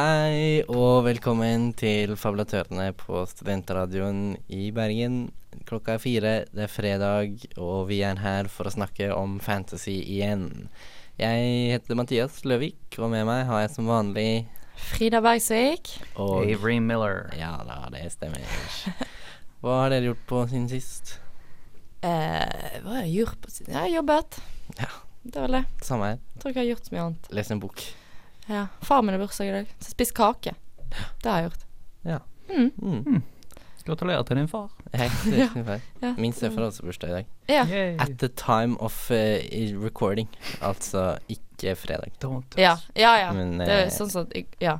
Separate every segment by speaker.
Speaker 1: Hei og velkommen til Fabulatørene på Studentradioen i Bergen. Klokka er fire, det er fredag, og vi er her for å snakke om fantasy igjen. Jeg heter Mathias Løvik, og med meg har jeg som vanlig
Speaker 2: Frida Bergsvik.
Speaker 1: og
Speaker 3: Avery Miller.
Speaker 1: Ja da, det stemmer. Hva har dere gjort på siden sist?
Speaker 2: Eh, hva har jeg gjort på siden? Jeg har jobbet.
Speaker 1: Ja.
Speaker 2: Det var det.
Speaker 1: Samme her.
Speaker 2: Jeg tror ikke jeg har gjort så mye annet.
Speaker 1: Lest en bok.
Speaker 2: Ja. Far min har bursdag i dag, så jeg spiste kake. Det har jeg gjort.
Speaker 1: Ja.
Speaker 2: Mm.
Speaker 1: Mm.
Speaker 3: Gratulerer til din far.
Speaker 1: Hei, tusen takk.
Speaker 2: Ja.
Speaker 1: Min stefar har også bursdag i dag.
Speaker 2: Ja.
Speaker 3: Yay.
Speaker 1: At the time of eh, recording, altså ikke fredag.
Speaker 3: Don't touch.
Speaker 2: Ja, ja. ja.
Speaker 1: Men,
Speaker 2: det er
Speaker 1: eh,
Speaker 2: sånn som at jeg- Ja.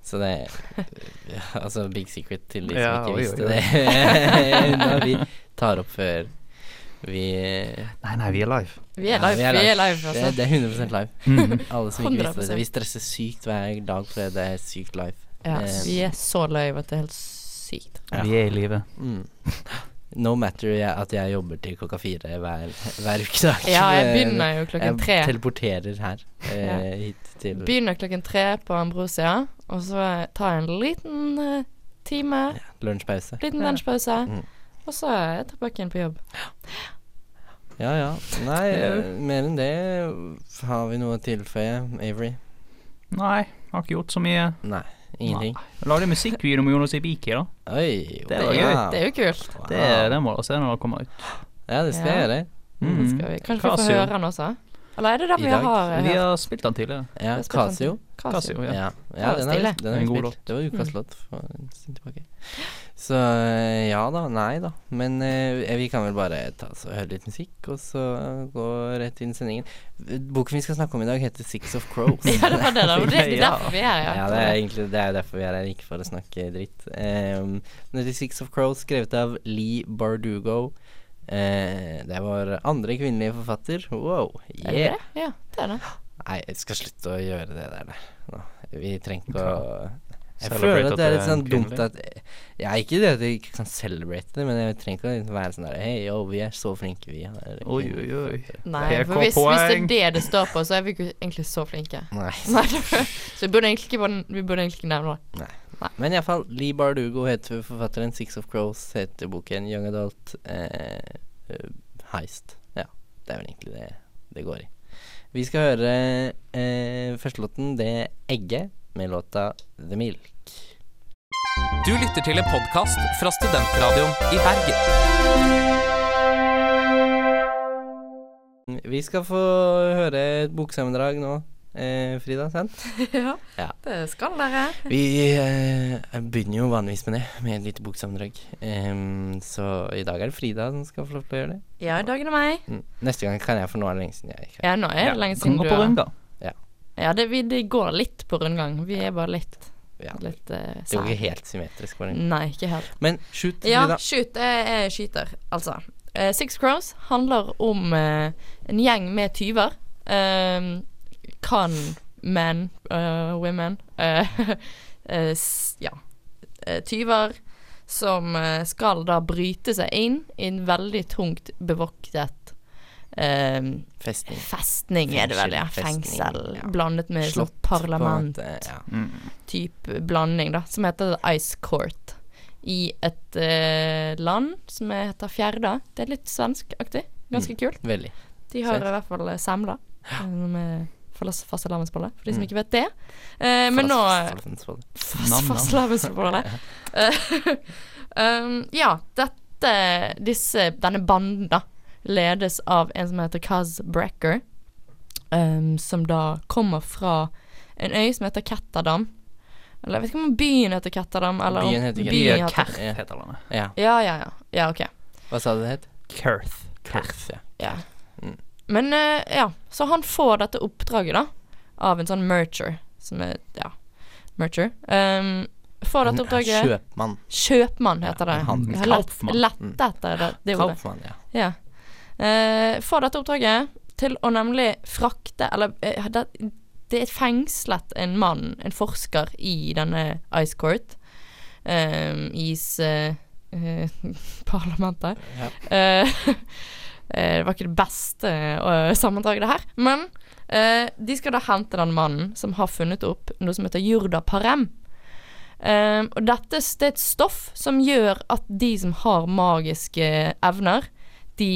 Speaker 1: Så det ja, Altså big secret til de
Speaker 3: Ja,
Speaker 1: som ikke
Speaker 3: oi, oi,
Speaker 1: visste
Speaker 3: oi.
Speaker 1: det. Når vi tar opp før vi
Speaker 3: Nei, nei, vi er live.
Speaker 2: Vi er
Speaker 1: Ja,
Speaker 2: live. vi er live
Speaker 1: Det,
Speaker 2: altså.
Speaker 1: det er 100 live. Alle som ikke visste det.
Speaker 2: 100%.
Speaker 1: Vi stresser sykt hver dag fordi det er sykt live.
Speaker 2: Ja,
Speaker 1: Eh,
Speaker 2: vi er så live at det er helt sykt.
Speaker 1: Ja.
Speaker 3: Vi er i live.
Speaker 1: Mm. No matter jeg, at jeg jobber til klokka fire hver, hver ukedag.
Speaker 2: Ja, jeg begynner jo
Speaker 1: Jeg
Speaker 2: klokken tre.
Speaker 1: teleporterer her eh,
Speaker 2: Ja.
Speaker 1: hit til
Speaker 2: Begynner klokken tre på Ambrosia, og så tar jeg en liten eh, time,
Speaker 1: lunsjpause.
Speaker 2: liten
Speaker 3: Ja.
Speaker 2: lunsjpause,
Speaker 1: Mm.
Speaker 2: og så er jeg tilbake igjen på jobb.
Speaker 1: Ja ja. Nei, eh, mer enn det har vi noe å tilføye, Avery.
Speaker 3: Nei, har ikke gjort så mye.
Speaker 1: Nei, ingenting.
Speaker 3: Lagde musikkvideo med Jonas Ibiki, da.
Speaker 1: Oi,
Speaker 3: Det
Speaker 1: wow.
Speaker 3: var gøy.
Speaker 2: Det er jo kult.
Speaker 1: Wow.
Speaker 3: Det, den må dere se når det kommer ut.
Speaker 1: Ja, det skal jeg
Speaker 2: Ja.
Speaker 1: gjøre.
Speaker 2: Det skal vi. Kanskje vi får
Speaker 3: Casio.
Speaker 2: høre eh, den også? Eller er det
Speaker 1: Mm. I
Speaker 2: den vi
Speaker 1: dag.
Speaker 2: har
Speaker 3: Vi
Speaker 2: hørt?
Speaker 3: har spilt den tidligere.
Speaker 1: Ja,
Speaker 2: Jeg spiller
Speaker 1: Casio.
Speaker 2: Casio.
Speaker 3: Casio,
Speaker 1: Ja,
Speaker 3: ja.
Speaker 1: ja.
Speaker 2: Ja,
Speaker 1: den
Speaker 2: stille.
Speaker 1: har vi- den har vi
Speaker 3: En god
Speaker 1: spilt.
Speaker 3: låt.
Speaker 1: Det var ukas
Speaker 2: Mm.
Speaker 1: låt for en stund tilbake. Så eh, ja da, nei da. Men eh, vi kan vel bare ta oss og høre litt musikk, og så gå rett inn i sendingen. Boken vi skal snakke om i dag, heter Six of Crows.
Speaker 2: Ja, det var det. da. Det er
Speaker 3: Ja.
Speaker 2: derfor vi er her.
Speaker 1: Ja, det er egentlig det er derfor vi er her, ikke for å snakke dritt. Um, 96 of Crows, skrevet av Lee Bardugo. Eh, det var andre kvinnelige forfatter. Wow.
Speaker 2: Er det
Speaker 1: Yeah.
Speaker 2: det? Ja, det er det.
Speaker 1: Nei, jeg skal slutte å gjøre det der, da. Nå. Vi trenger ikke å Jeg
Speaker 3: Celebrate
Speaker 1: føler at
Speaker 3: at
Speaker 1: det er
Speaker 3: det
Speaker 1: litt
Speaker 3: er
Speaker 1: sånn dumt
Speaker 3: kvinnelig.
Speaker 1: at Ja, ikke det at jeg ikke kan celebrate det, men jeg trenger ikke å liksom være sånn der Hei, yo, vi er så flinke, vi. er
Speaker 3: Oi,
Speaker 1: kvinnelige
Speaker 3: oi, oi.
Speaker 1: forfattere».
Speaker 2: Nei, for
Speaker 3: PK
Speaker 2: hvis, hvis det er
Speaker 3: poeng.
Speaker 2: det det står på, så er vi ikke egentlig så flinke.
Speaker 1: Nei.
Speaker 2: Nei, det- så vi burde egentlig ikke, bare- vi burde egentlig ikke nevne det.
Speaker 1: Men iallfall, Lee Bardugo heter forfatteren. Six of Crows heter boken. Young Adult eh, eh, Heist. Ja, det er vel egentlig det det går i. Vi skal høre eh, førstelåten Det er Egget med låta The Milk.
Speaker 4: Du lytter til en podkast fra Studentradioen i Bergen.
Speaker 1: Vi skal få høre et boksammendrag nå, eh, Frida. sant?
Speaker 2: Ja,
Speaker 1: Ja.
Speaker 2: det skal dere.
Speaker 1: Vi eh, begynner jo vanligvis med det, med et lite boksammendrag. Em, så i dag er det Frida som skal få lov til å gjøre det.
Speaker 2: Ja, i dag er det meg.
Speaker 1: Mm. Neste gang kan jeg, for nå er det lenge siden jeg ikke
Speaker 2: Ja, nå er det lenge siden
Speaker 3: Kan
Speaker 2: du
Speaker 3: gå på
Speaker 2: er
Speaker 3: runder.
Speaker 2: Ja, det, vi, det går litt på rundgang. Vi er bare litt,
Speaker 1: Ja, det
Speaker 2: litt uh,
Speaker 1: er jo ikke helt symmetrisk. Var det.
Speaker 2: Nei, ikke helt.
Speaker 1: Men shoot,
Speaker 2: Ja,
Speaker 1: Frida.
Speaker 2: shoot. Jeg, jeg skyter, altså. Eh, Six Crows handler om eh, en gjeng med tyver. Eh, kan menn, eh, women eh, eh, s- Ja. eh, tyver som eh, skal da bryte seg inn i en veldig tungt bevoktet eh,
Speaker 1: Festning.
Speaker 2: festning, er det vel, ja.
Speaker 1: Fengsel,
Speaker 2: Fengsel.
Speaker 1: festning, ja.
Speaker 2: Blandet med sånn
Speaker 1: på eh, en
Speaker 2: parlament
Speaker 1: måte, Ja.
Speaker 2: type blanding, da, som heter The Ice Court. I et eh, land som heter Fjerda. Det er litt svenskaktig. Ganske kult.
Speaker 1: Veldig.
Speaker 2: De har
Speaker 1: sant.
Speaker 2: i hvert fall eh, semla. Som er fastelavnsbolle, for de som
Speaker 1: Mm.
Speaker 2: ikke vet det. Eh, men nå
Speaker 1: Fastlandsbolle.
Speaker 3: Nam, nam.
Speaker 2: Fastelavnsbolle. um, ja, dette disse, Denne banden, da, ledes av en som heter Kaz Brecker. Um, som da kommer fra en øy som heter Ketterdam. Eller jeg vet ikke om byen heter Ketterdam, eller om
Speaker 1: Byen heter Ketterdam.
Speaker 2: byen heter-
Speaker 3: Kerth
Speaker 1: Ja.
Speaker 3: heter den.
Speaker 1: Ja.
Speaker 2: Ja, ja, ja. Ja, OK.
Speaker 1: Hva sa du det het?
Speaker 3: Kerth.
Speaker 1: Kurth. Ja.
Speaker 2: Ja.
Speaker 1: Mm.
Speaker 2: Men eh, ja, så han får dette oppdraget da, av en sånn mercher, som er, ja, mercher. Um, får
Speaker 1: En- en
Speaker 2: dette oppdraget,
Speaker 1: Kjøpmann.
Speaker 2: kjøpmann heter det.
Speaker 1: en handels-
Speaker 2: Jeg har lett-
Speaker 3: Kaufmann.
Speaker 1: Mm.
Speaker 2: Lett etter det, det ordet.
Speaker 1: Kaufmann, ja.
Speaker 2: Ja. Eh, får dette oppdraget til å nemlig frakte Eller eh, det, det er fengslet en mann, en forsker, i denne Ice Court. Um, is eh, eh, parlamentet.
Speaker 1: Ja.
Speaker 2: Eh, eh, det var ikke det beste eh, sammendraget, det her. Men Eh, de skal da hente den mannen som har funnet opp noe som heter jordaparem. Eh, og dette s- det er et stoff som gjør at de som har magiske evner, de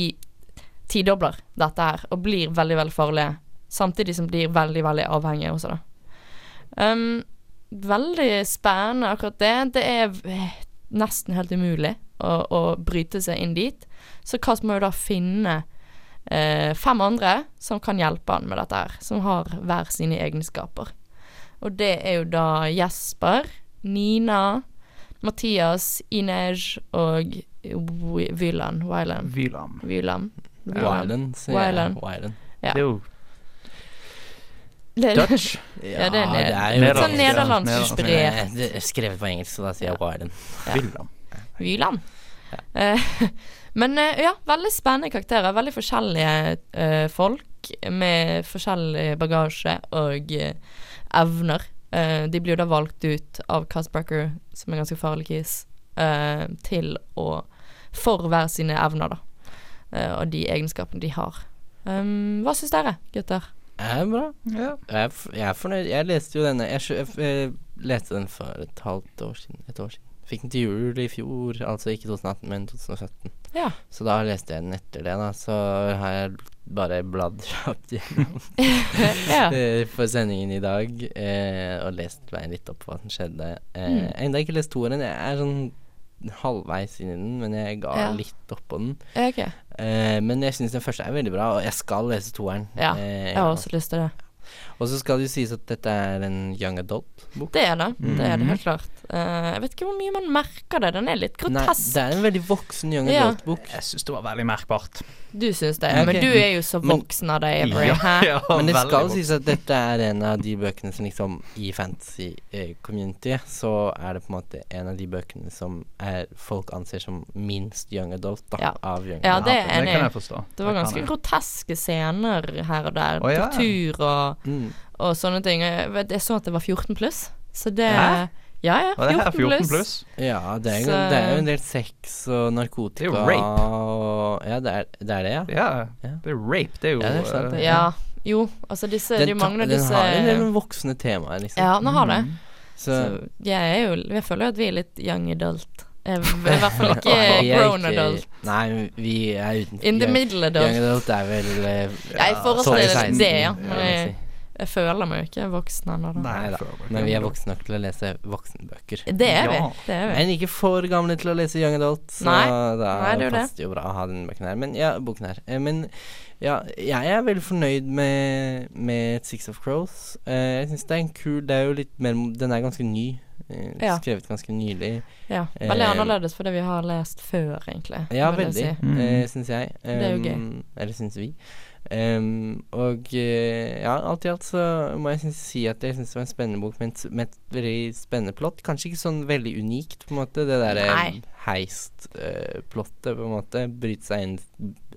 Speaker 2: tidobler dette her og blir veldig, veldig farlige. Samtidig som de blir veldig, veldig avhengige også, da. Um, veldig spennende akkurat det. Det er v- nesten helt umulig å, å bryte seg inn dit. Så Kast må jo da finne eh, fem andre som kan hjelpe han med dette her, som har hver sine egenskaper. Og det er jo da Jesper, Nina, Mathias, Inej og Wi- Vylan. Wylan.
Speaker 3: Vylam.
Speaker 2: Vylan.
Speaker 1: Wyland, sier jeg.
Speaker 2: Wyland.
Speaker 1: Wyland.
Speaker 2: Ja.
Speaker 3: Det er jo
Speaker 2: Det er
Speaker 3: Dutch.
Speaker 2: Ja, det er ned-
Speaker 1: jo-
Speaker 2: litt sånn
Speaker 3: Nederland.
Speaker 2: nederlandsinspirert.
Speaker 1: Men, eh, det er Skrevet på engelsk, så da sier jeg Wyland.
Speaker 2: Ja.
Speaker 3: Vylam.
Speaker 2: Vyland. Eh, Men eh, ja, veldig spennende karakterer. Veldig forskjellige eh, folk med forskjellig bagasje og eh, evner. Eh, de blir jo da valgt ut av Castbracker, som er ganske farlig kis, eh, til å For hver sine evner, da. Eh, og de egenskapene de har. Um, hva syns dere, gutter?
Speaker 1: Ja, bra.
Speaker 3: Ja.
Speaker 1: Jeg er, f jeg er fornøyd. Jeg leste jo denne Jeg, skjø- jeg, f- jeg leste den for et halvt år siden. Et år siden. Fikk den til jul i fjor, altså ikke 2018, men 2017.
Speaker 2: Ja.
Speaker 1: Så da leste jeg den etter det, da. Så har jeg bare bladd kjapt gjennom
Speaker 2: ja.
Speaker 1: eh, for sendingen i dag eh, og lest meg litt opp på hva som skjedde. Eh,
Speaker 2: Mm.
Speaker 1: Jeg har ennå ikke lest toeren. Jeg er sånn halvveis inn i den, men jeg ga
Speaker 2: Ja.
Speaker 1: litt opp på den.
Speaker 2: Ja, ok.
Speaker 1: Eh, men jeg syns den første er veldig bra, og jeg skal lese toeren.
Speaker 2: Ja,
Speaker 1: Eh,
Speaker 2: Jeg har også lyst til det.
Speaker 1: og så skal det jo sies at dette er en young adult-bok.
Speaker 2: Det er det. Det er det
Speaker 3: Mhm.
Speaker 2: helt klart. Eh, jeg vet ikke hvor mye man merker det. Den er litt
Speaker 1: Nei,
Speaker 2: grotesk.
Speaker 1: det er en veldig voksen young
Speaker 2: Ja.
Speaker 1: adult-bok.
Speaker 3: Jeg syns det var veldig merkbart.
Speaker 2: Du syns det,
Speaker 1: Ja,
Speaker 2: men
Speaker 1: ok.
Speaker 2: du er jo så
Speaker 1: Men-
Speaker 2: voksen av deg, Avery. Hæ?
Speaker 1: Men det skal sies at dette er en av de bøkene som liksom I fantasy-community så er det på en måte en av de bøkene som er, folk anser som minst young adult, da.
Speaker 2: Ja.
Speaker 1: Av young
Speaker 2: Ja,
Speaker 1: adult.
Speaker 2: det er jeg
Speaker 3: Det
Speaker 2: enig
Speaker 3: kan
Speaker 2: i.
Speaker 3: jeg forstå.
Speaker 2: Det var
Speaker 3: kan
Speaker 2: ganske
Speaker 3: jeg.
Speaker 2: groteske scener her og der.
Speaker 3: Å, ja.
Speaker 2: Tortur og,
Speaker 1: Mm.
Speaker 2: og sånne ting. Jeg, vet, jeg så at det var 14 pluss, så det
Speaker 3: Hæ?
Speaker 2: Ja, ja.
Speaker 3: Var det her 14
Speaker 2: pluss.
Speaker 3: pluss?
Speaker 1: Ja, det er, jo-
Speaker 2: Så-
Speaker 1: det er jo en del sex og narkotika
Speaker 3: Det er jo rape.
Speaker 1: og Ja, det er det, er det ja.
Speaker 3: Ja.
Speaker 1: Ja.
Speaker 3: Det er rape. Det er jo
Speaker 1: Ja, det er sant, det.
Speaker 3: eh,
Speaker 2: Ja. Jo, altså disse Det er jo
Speaker 1: ta-
Speaker 2: mange av
Speaker 1: den
Speaker 2: disse
Speaker 1: har en del voksne temaer, liksom.
Speaker 2: Ja, den har det.
Speaker 3: mm.
Speaker 1: Så,
Speaker 2: Så jeg er jo Jeg føler jo at vi er litt young adult. Eh, I hvert fall ikke
Speaker 1: Vi er
Speaker 2: grown
Speaker 1: ikke-
Speaker 2: adult.
Speaker 1: Nei, vi er utenfor.
Speaker 2: In the
Speaker 1: young-
Speaker 2: middle
Speaker 1: Young
Speaker 2: adult.
Speaker 1: adult er vel eh,
Speaker 2: Jeg forestiller
Speaker 1: 12-16,
Speaker 2: det, ja.
Speaker 1: kan
Speaker 2: Men
Speaker 1: man
Speaker 2: jeg,
Speaker 1: si.
Speaker 2: jeg føler meg jo ikke voksen ennå. da.
Speaker 3: Nei,
Speaker 1: Neida.
Speaker 3: for-
Speaker 1: Men vi er voksne nok til å lese voksenbøker.
Speaker 2: Det er vi.
Speaker 3: Ja.
Speaker 2: Det er vi.
Speaker 1: Men ikke for gamle til å lese Young Adult, så
Speaker 2: Nei.
Speaker 1: da
Speaker 2: Nei, det er jo det.
Speaker 1: passer det jo bra å ha den boken her. Men ja, boken her. Eh, Men ja, jeg er veldig fornøyd med, med Six of Crows. Eh, Jeg syns det er en kul Det er jo litt mer mo- Den er ganske ny. eh,
Speaker 2: Ja.
Speaker 1: Skrevet ganske nylig.
Speaker 2: Ja, Veldig
Speaker 1: Eh,
Speaker 2: annerledes for det vi har lest før, egentlig.
Speaker 1: Ja,
Speaker 2: vil
Speaker 1: veldig,
Speaker 2: jeg si.
Speaker 3: Mm.
Speaker 1: eh, syns jeg.
Speaker 2: Det er jo gøy.
Speaker 1: Um, Eller syns vi. Um, og eh, ja, alt i alt så må jeg synes, si at jeg syns det var en spennende bok med et, med et veldig spennende plott. Kanskje ikke sånn veldig unikt, på en måte, det eh, derre
Speaker 2: Nei.
Speaker 1: heist-plottet, eh, på en måte. Bryte seg inn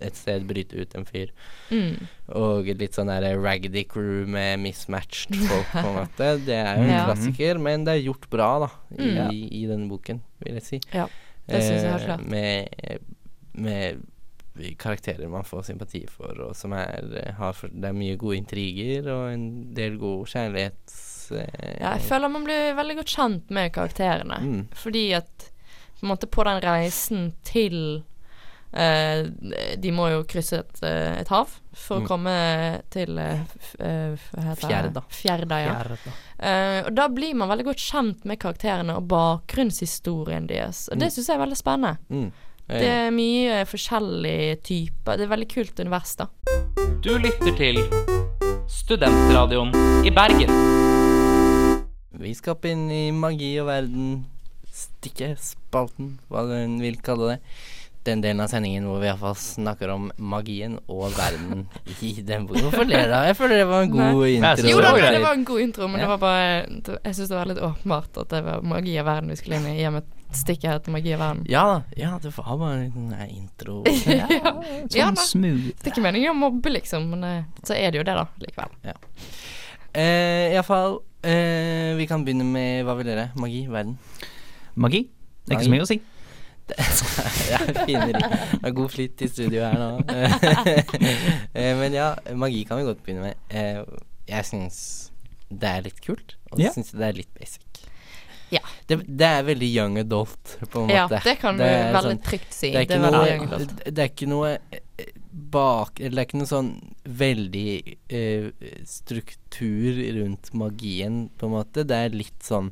Speaker 1: et sted, bryte ut en fyr.
Speaker 2: Mm.
Speaker 1: Og litt sånn derre raggedy crew med mismatched folk, på en måte. Det er jo en
Speaker 2: Ja.
Speaker 1: klassiker, men det er gjort bra, da, i,
Speaker 2: Mm.
Speaker 1: i denne boken, vil jeg si.
Speaker 2: Ja, det synes jeg helt
Speaker 1: Eh,
Speaker 2: klart.
Speaker 1: Med, med karakterer man får sympati for, og som er har for, Det er mye gode intriger og en del god kjærlighets... eh,
Speaker 2: ja, jeg føler man blir veldig godt kjent med karakterene.
Speaker 1: mm.
Speaker 2: Fordi at på en måte på den reisen til eh, De må jo krysse et, eh, et hav for
Speaker 1: Mm.
Speaker 2: å komme til eh, f- eh, hva heter det?
Speaker 1: Fjerda.
Speaker 2: Fjerda, ja. Eh, og da blir man veldig godt kjent med karakterene og bakgrunnshistorien deres. Og det
Speaker 1: Mm.
Speaker 2: syns jeg er veldig spennende.
Speaker 1: Mm. Eh,
Speaker 2: Det er mye forskjellige typer. Det er veldig kult univers, da.
Speaker 4: Du lytter til Studentradioen i Bergen.
Speaker 1: Vi skal opp inn i magi og verden. Stikke, spalten, hva du enn vil kalle det. Den delen av sendingen hvor vi iallfall snakker om magien og verden i den boka. Hvorfor ler dere? Jeg føler det var en god
Speaker 3: Nei.
Speaker 1: intro.
Speaker 3: Det
Speaker 2: Jo
Speaker 3: var
Speaker 2: da,
Speaker 3: greit.
Speaker 2: men det var en god intro, men
Speaker 1: Ja.
Speaker 2: det var bare det- Jeg syns det var litt åpenbart at det var magi av verden vi skulle inn i, i og med at stikket heter magi av verden.
Speaker 1: Ja da. Ja, det var bare en liten eh, intro.
Speaker 2: Ja,
Speaker 3: Sånn
Speaker 2: da.
Speaker 3: smooth.
Speaker 2: Det er ikke meningen å mobbe, liksom, men eh, så er det jo det, da, likevel.
Speaker 1: Eh, Iallfall, eh, vi kan begynne med hva vil dere? Magi? Verden?
Speaker 3: Magi. Det er
Speaker 1: Magi.
Speaker 3: ikke så mye å si.
Speaker 1: Jeg finner ikke Det er god flyt i studio her nå. Eh, Men ja, magi kan vi godt begynne med. Eh, Jeg syns det er litt kult, og
Speaker 3: Ja.
Speaker 1: jeg syns det er litt basic.
Speaker 2: Ja.
Speaker 1: Det, det er veldig young adult, på en
Speaker 2: Ja,
Speaker 1: måte.
Speaker 2: det kan du
Speaker 1: er
Speaker 2: veldig
Speaker 1: sånn-
Speaker 2: trygt si.
Speaker 1: det er ikke
Speaker 2: veldig
Speaker 1: noe
Speaker 2: young adult.
Speaker 1: det- Det er ikke noe eh, bak Eller det er ikke noe sånn veldig eh, struktur rundt magien, på en måte. Det er litt sånn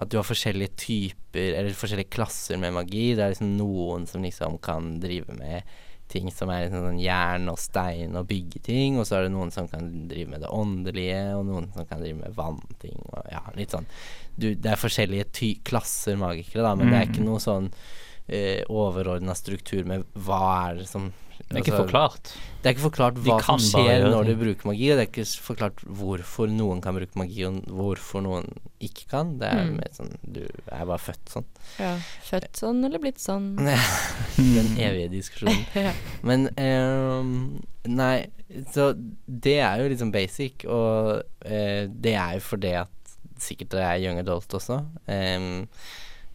Speaker 1: at du har forskjellige typer, eller forskjellige klasser med magi. Det er liksom noen som liksom kan drive med ting som er liksom sånn jern og stein og bygge ting, og så er det noen som kan drive med det åndelige, og noen som kan drive med vannting og ja, litt sånn. Du, det er forskjellige ty klasser magikere, da, men det er
Speaker 3: Mm.
Speaker 1: ikke noe sånn eh, overordna struktur med hva er det som
Speaker 3: Det er ikke
Speaker 1: altså,
Speaker 3: forklart.
Speaker 1: det er ikke forklart
Speaker 3: De
Speaker 1: hva
Speaker 3: kan
Speaker 1: som
Speaker 3: bare
Speaker 1: skjer
Speaker 3: gjøre sånn.
Speaker 1: når du
Speaker 3: ting.
Speaker 1: bruker magi, og det er ikke s- forklart hvorfor noen kan bruke magi, og hvorfor noen ikke kan. Det er
Speaker 2: Mm.
Speaker 1: mer sånn Du er bare født sånn.
Speaker 2: Ja. Født sånn eller blitt sånn.
Speaker 3: mm.
Speaker 1: Den evige diskusjonen.
Speaker 2: Ja.
Speaker 1: Men ehm, Nei, så det er jo liksom basic, og eh, det er jo fordi at sikkert det er young adult også. Ehm,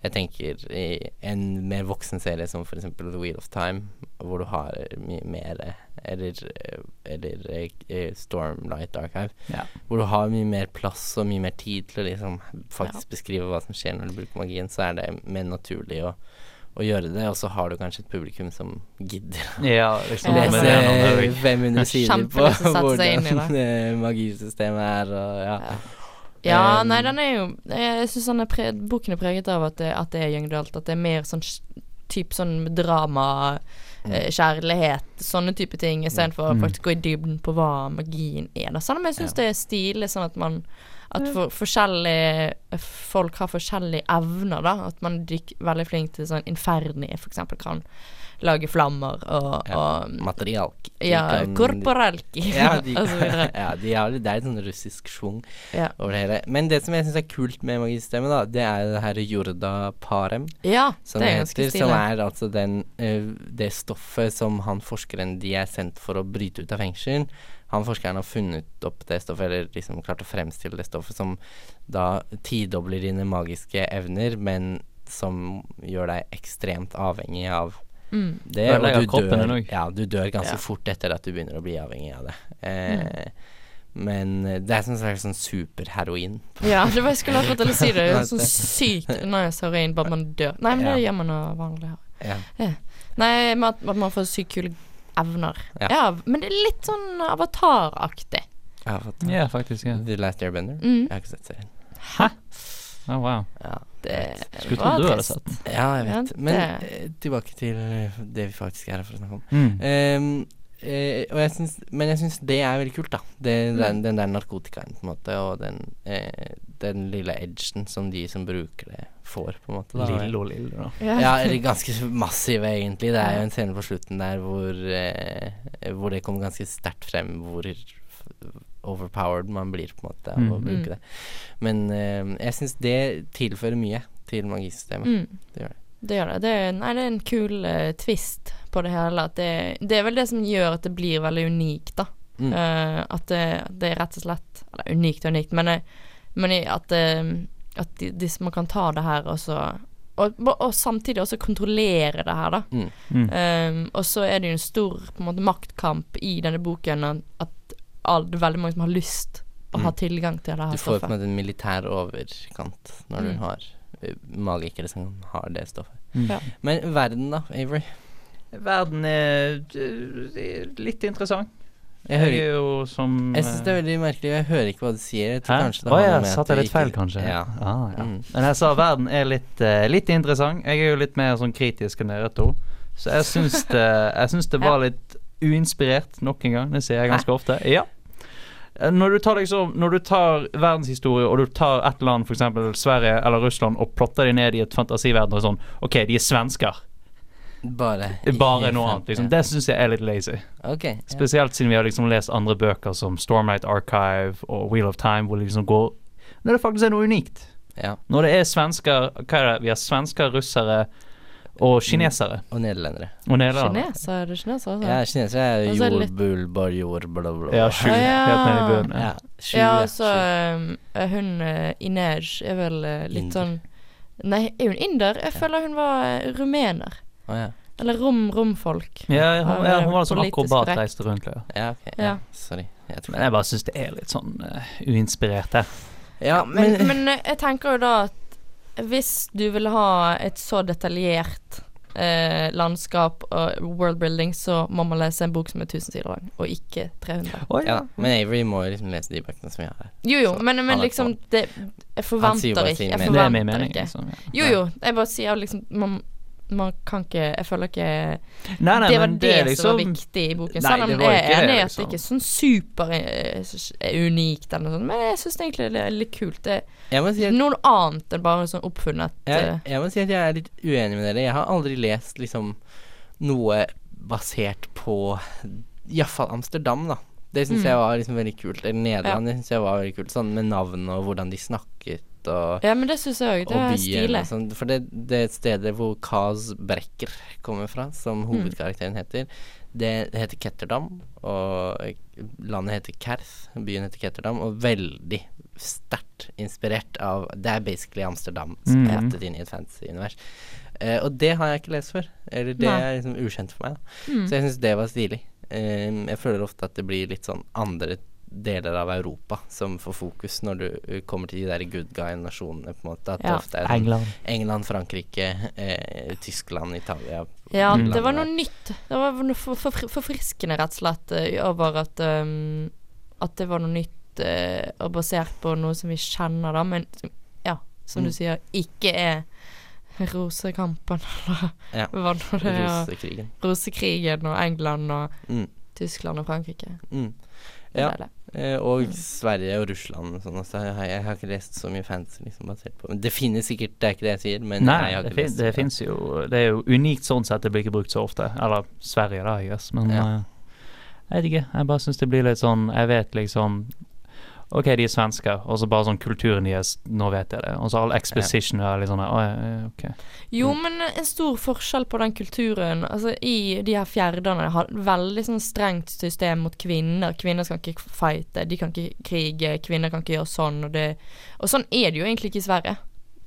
Speaker 1: jeg tenker i en mer voksen serie som for eksempel The Wheel of Time, hvor du har mye mer eh, Eller, eh, eller eh, eh, Stormlight Archive.
Speaker 3: Ja.
Speaker 1: Hvor du har mye mer plass og mye mer tid til å liksom faktisk beskrive hva som skjer når du bruker magien, så er det mer naturlig å, å gjøre det. Og så har du kanskje et publikum som gidder
Speaker 3: Ja, liksom.
Speaker 2: Ja,
Speaker 3: noe med det er
Speaker 1: lese
Speaker 3: noe med det.
Speaker 1: 500 sider på
Speaker 2: Kjempelyst til å sette seg inn i det.
Speaker 1: hvordan eh, magisystemet er, og ja.
Speaker 2: Ja. Ja,
Speaker 1: Um,
Speaker 2: nei, den er jo Jeg syns boken er preget av at det, at det er young adult. At det er mer sånn s- typ sånn drama,
Speaker 1: Mm.
Speaker 2: eh, kjærlighet, sånne type ting, istedenfor å
Speaker 3: Mm.
Speaker 2: faktisk gå i dybden på hva magien er. Da. Selv om jeg syns det er stilig sånn at man At for, forskjellige folk har forskjellige evner, da. At man er dyk- veldig flink til sånn Inferni, for eksempel, kan lage flammer og,
Speaker 1: Ja.
Speaker 2: og
Speaker 1: Materialk. De
Speaker 2: Ja,
Speaker 1: kan-
Speaker 2: korporalki
Speaker 1: ja, de,
Speaker 2: og så videre.
Speaker 1: ja, de har, det er litt sånn russisk schwung
Speaker 2: Ja.
Speaker 1: over det hele. Men det som jeg syns er kult med magisystemet, da, det er jo det her Jorda Parem.
Speaker 2: Ja,
Speaker 1: som
Speaker 2: det
Speaker 1: det
Speaker 2: er ganske
Speaker 1: heter,
Speaker 2: stilig.
Speaker 1: som er altså den, eh, det stoffet som han forskeren de er sendt for å bryte ut av fengsel Han forskeren har funnet opp det stoffet, eller liksom klart å fremstille det stoffet, som da tidobler dine magiske evner, men som gjør deg ekstremt avhengig av
Speaker 2: mm.
Speaker 1: det.
Speaker 3: Da
Speaker 1: Og
Speaker 3: legger
Speaker 1: du
Speaker 3: kroppen
Speaker 1: dør,
Speaker 3: den også.
Speaker 1: ja, du dør ganske
Speaker 2: Ja. Mm.
Speaker 1: fort etter at du begynner å bli avhengig av det. Eh, Men eh, det er som en slags sånn superheroin.
Speaker 2: Ja, det var jeg skulle akkurat til å si det. Det er
Speaker 1: Nei,
Speaker 2: Sånn
Speaker 1: det-
Speaker 2: sykt nice heroin, bare man dør. Nei, men det
Speaker 1: Ja.
Speaker 2: gjør man av vanlig heroin.
Speaker 1: Ja.
Speaker 2: Nei, men at at man får sykt kule evner.
Speaker 1: Ja.
Speaker 2: Ja. men det er litt sånn avataraktig.
Speaker 1: Jeg har fått
Speaker 3: Ja, faktisk. ja.
Speaker 1: The Last Airbender.
Speaker 2: Mm.
Speaker 1: Jeg har ikke sett serien.
Speaker 3: Å, wow.
Speaker 1: Ja.
Speaker 2: Det
Speaker 3: Skulle
Speaker 2: var
Speaker 3: tro du hadde
Speaker 2: trist.
Speaker 3: sett.
Speaker 1: Ja, jeg
Speaker 2: Ja,
Speaker 1: vet. Men
Speaker 2: det-
Speaker 1: eh, tilbake til eh, det vi faktisk er her for å snakke om.
Speaker 3: Mm.
Speaker 1: Ehm, eh, og jeg syns, men jeg syns det er veldig kult, da. Det, den, den der narkotikaen, på en måte, og den, eh, den lille edgen som de som bruker det, får, på en måte. Da.
Speaker 3: Lille og lille, da.
Speaker 1: Ja, eller ganske massiv, egentlig. Det er jo en scene på slutten der hvor, eh, hvor det kommer ganske sterkt frem hvor f- overpowered man blir, på en måte, av å
Speaker 3: Mm.
Speaker 1: bruke det. Men eh, jeg syns det tilfører mye til magisystemet.
Speaker 2: Mm.
Speaker 1: Det gjør det.
Speaker 2: Det gjør det. det er, nei, det er en kul eh, twist på det hele. At det, det er vel det som gjør at det blir veldig unikt, da.
Speaker 1: Mm.
Speaker 2: Eh, at det, det er rett og slett Eller unikt og unikt, men, eh, men i- at, eh, at de, de som kan ta det her, og så og, og samtidig også kontrollere det her, da.
Speaker 1: Mm.
Speaker 3: Mm.
Speaker 2: Eh, og så er det jo en stor på en måte, maktkamp i denne boken at- at all, det er veldig mange som har lyst å ha
Speaker 1: Mm.
Speaker 2: tilgang til det her
Speaker 1: Du får på en
Speaker 2: stoffet.
Speaker 1: måte en militær overkant når du
Speaker 2: Mm.
Speaker 1: har eh, magikere som har det stoffet.
Speaker 3: Mm.
Speaker 2: Eh, Ja.
Speaker 1: Men verden, da, Avery?
Speaker 3: Verden er eh, litt interessant.
Speaker 1: Jeg hører
Speaker 3: er jo som
Speaker 1: Jeg syns det er veldig merkelig, jeg hører ikke hva du sier. Jeg tror kanskje det
Speaker 3: Å
Speaker 1: har
Speaker 3: ja,
Speaker 1: noe med at
Speaker 3: satt jeg
Speaker 1: du
Speaker 3: litt
Speaker 1: ikke-
Speaker 3: feil, kanskje?
Speaker 1: Ja.
Speaker 3: Ah, ja.
Speaker 1: Mm.
Speaker 3: Men jeg sa verden er litt, eh, litt interessant. Jeg er jo litt mer sånn kritisk enn dere to. Så jeg syns det, jeg syns det var litt uinspirert nok en gang. Det sier jeg ganske ofte. Ja. Eh, Når du tar liksom Når du tar verdenshistorie og du tar et land, f.eks. Sverige eller Russland, og plotter de ned i et fantasiverden og sånn OK, de er svensker.
Speaker 1: Bare,
Speaker 3: Bare noe annet, liksom. Det syns jeg er litt lazy.
Speaker 1: Ok. Ja.
Speaker 3: Spesielt siden vi har liksom lest andre bøker som Stormlight Archive og Wheel of Time, hvor det liksom går Når det faktisk er noe unikt.
Speaker 1: ja.
Speaker 3: Når det er svensker Hva er det? Vi har svensker, russere og kinesere.
Speaker 1: Og nederlendere.
Speaker 3: Og nederlendere.
Speaker 2: Kineser, er det kineser? Altså?
Speaker 1: Ja, kinesere er
Speaker 2: Og så er det litt-
Speaker 1: jordbulbar, jordblablabla.
Speaker 3: Ja, sju.
Speaker 2: Å, ja.
Speaker 3: Helt ned i bunnen.
Speaker 1: Ja, sju,
Speaker 2: Ja,
Speaker 1: ja,
Speaker 2: altså
Speaker 1: sju.
Speaker 2: um, eh, hun uh, eh, Inej er vel eh, litt
Speaker 1: Inder.
Speaker 2: sånn Nei, er hun inder? Jeg føler hun var eh, rumener.
Speaker 1: Å ja.
Speaker 2: Eller rom-romfolk.
Speaker 3: Ja, hun, ja, hun var sånn
Speaker 2: Politisk
Speaker 3: akrobat
Speaker 2: korrekt.
Speaker 3: reiste rundt. Ja.
Speaker 1: ja, ok. Ja.
Speaker 2: Ja.
Speaker 1: Sorry. Jeg tror
Speaker 3: Men jeg bare syns det er litt sånn eh, uinspirert her.
Speaker 1: Ja,
Speaker 2: Men,
Speaker 1: men
Speaker 2: men eh, jeg tenker jo da at hvis du vil ha et så detaljert eh, landskap og worldbuilding, så må man lese en bok som er 1000 sider lang, og ikke 300.
Speaker 3: Å,
Speaker 1: ja, da. Men Avery må jo liksom lese de bøkene som vi har her.
Speaker 2: Jo jo,
Speaker 1: Så,
Speaker 2: men,
Speaker 1: han
Speaker 2: men
Speaker 1: er
Speaker 2: liksom det, Jeg
Speaker 1: Han sier
Speaker 2: forventer
Speaker 1: bare
Speaker 2: ikke.
Speaker 1: sin
Speaker 2: Jeg
Speaker 1: mening.
Speaker 3: Det er min
Speaker 2: forventer
Speaker 3: mening.
Speaker 2: ikke.
Speaker 3: Liksom. ja.
Speaker 2: Jo jo, jeg bare sier liksom man, man kan ikke Jeg føler ikke
Speaker 3: Nei, nei,
Speaker 2: Det var
Speaker 3: men
Speaker 2: det
Speaker 3: er
Speaker 2: som var
Speaker 3: liksom-
Speaker 2: viktig i boken.
Speaker 3: Nei,
Speaker 2: Selv
Speaker 3: det
Speaker 2: om
Speaker 3: var
Speaker 2: jeg
Speaker 3: ikke
Speaker 2: er
Speaker 3: det,
Speaker 2: enig i at det
Speaker 3: liksom.
Speaker 2: ikke er sånn super eh, s- er unikt eller noe sånt, men jeg syns egentlig det er litt kult. Det
Speaker 1: Jeg må si at
Speaker 2: Noe annet enn bare sånn oppfunnet
Speaker 1: jeg,
Speaker 2: eh,
Speaker 1: jeg må si at jeg er litt uenig med dere. Jeg har aldri lest liksom noe basert på iallfall Amsterdam, da. Det syns
Speaker 2: Mm.
Speaker 1: jeg var liksom veldig kult. Eller Nederland, det syns jeg var veldig kult. Sånn med navn og hvordan de snakket og,
Speaker 2: Ja, men det syns jeg òg. Det
Speaker 1: og
Speaker 2: er
Speaker 1: byen
Speaker 2: stilig.
Speaker 1: og sånn. For det, det stedet hvor Kaz Brekker kommer fra,
Speaker 2: Mm.
Speaker 1: som hovedkarakteren heter, det, det heter Ketterdam, og landet heter Kerth, byen heter Ketterdam, og veldig sterkt inspirert av Det er basically Amsterdam
Speaker 2: Mm.
Speaker 3: Mhm.
Speaker 1: sprettet inn i et fantasy-univers. Eh, og det har jeg ikke lest før. Eller det
Speaker 2: Nei.
Speaker 1: er liksom ukjent for meg. Da.
Speaker 3: Mm.
Speaker 1: Så jeg syns det var stilig. Eh, jeg føler ofte at det blir litt sånn andre deler av Europa som får fokus når du eh, kommer til de der good guy-nasjonene, på en måte. At det
Speaker 2: Ja.
Speaker 1: ofte er sånn
Speaker 3: England.
Speaker 1: England, Frankrike, eh, Tyskland, Italia
Speaker 2: Ja,
Speaker 3: Mm.
Speaker 2: det var noe nytt. Det var noe for, for, forfriskende, rett og slett, eh, over at ehm, At det var noe nytt eh, og basert på noe som vi kjenner, da, men som- ja, som du
Speaker 1: Mm.
Speaker 2: sier, ikke er Rosekampen eller
Speaker 1: Ja.
Speaker 2: hva nå det er.
Speaker 1: Rosekrigen.
Speaker 2: Rosekrigen og England og
Speaker 1: Mm.
Speaker 2: Tyskland og Frankrike.
Speaker 1: Mm.
Speaker 2: Det
Speaker 1: Ja.
Speaker 2: er det.
Speaker 1: Eh, og Sverige og Russland og sånn også. Jeg, har- jeg har ikke lest så mye fancy liksom, basert på Men det finnes sikkert, det er ikke det jeg sier, men jeg
Speaker 3: Nei,
Speaker 1: har
Speaker 3: det,
Speaker 1: ikke
Speaker 3: fin,
Speaker 1: lest
Speaker 3: det
Speaker 1: så mye.
Speaker 3: fins jo Det er jo unikt sånn sett, det blir ikke brukt så ofte. Eller Sverige, da, I guess. Men
Speaker 1: Ja.
Speaker 3: eh, jeg vet ikke. Jeg bare syns det blir litt sånn Jeg vet liksom OK, de er svensker, og så bare sånn kulturen deres, nå vet jeg det. Og så all exposition er litt sånn Å, ja, ja, OK.
Speaker 2: Jo,
Speaker 1: Mm.
Speaker 2: men en stor forskjell på den kulturen. Altså, I de her fjerdene har veldig sånn strengt system mot kvinner. Kvinner skal ikke fighte, de kan ikke krige, kvinner kan ikke gjøre sånn og det. Og sånn er det jo egentlig ikke i Sverige.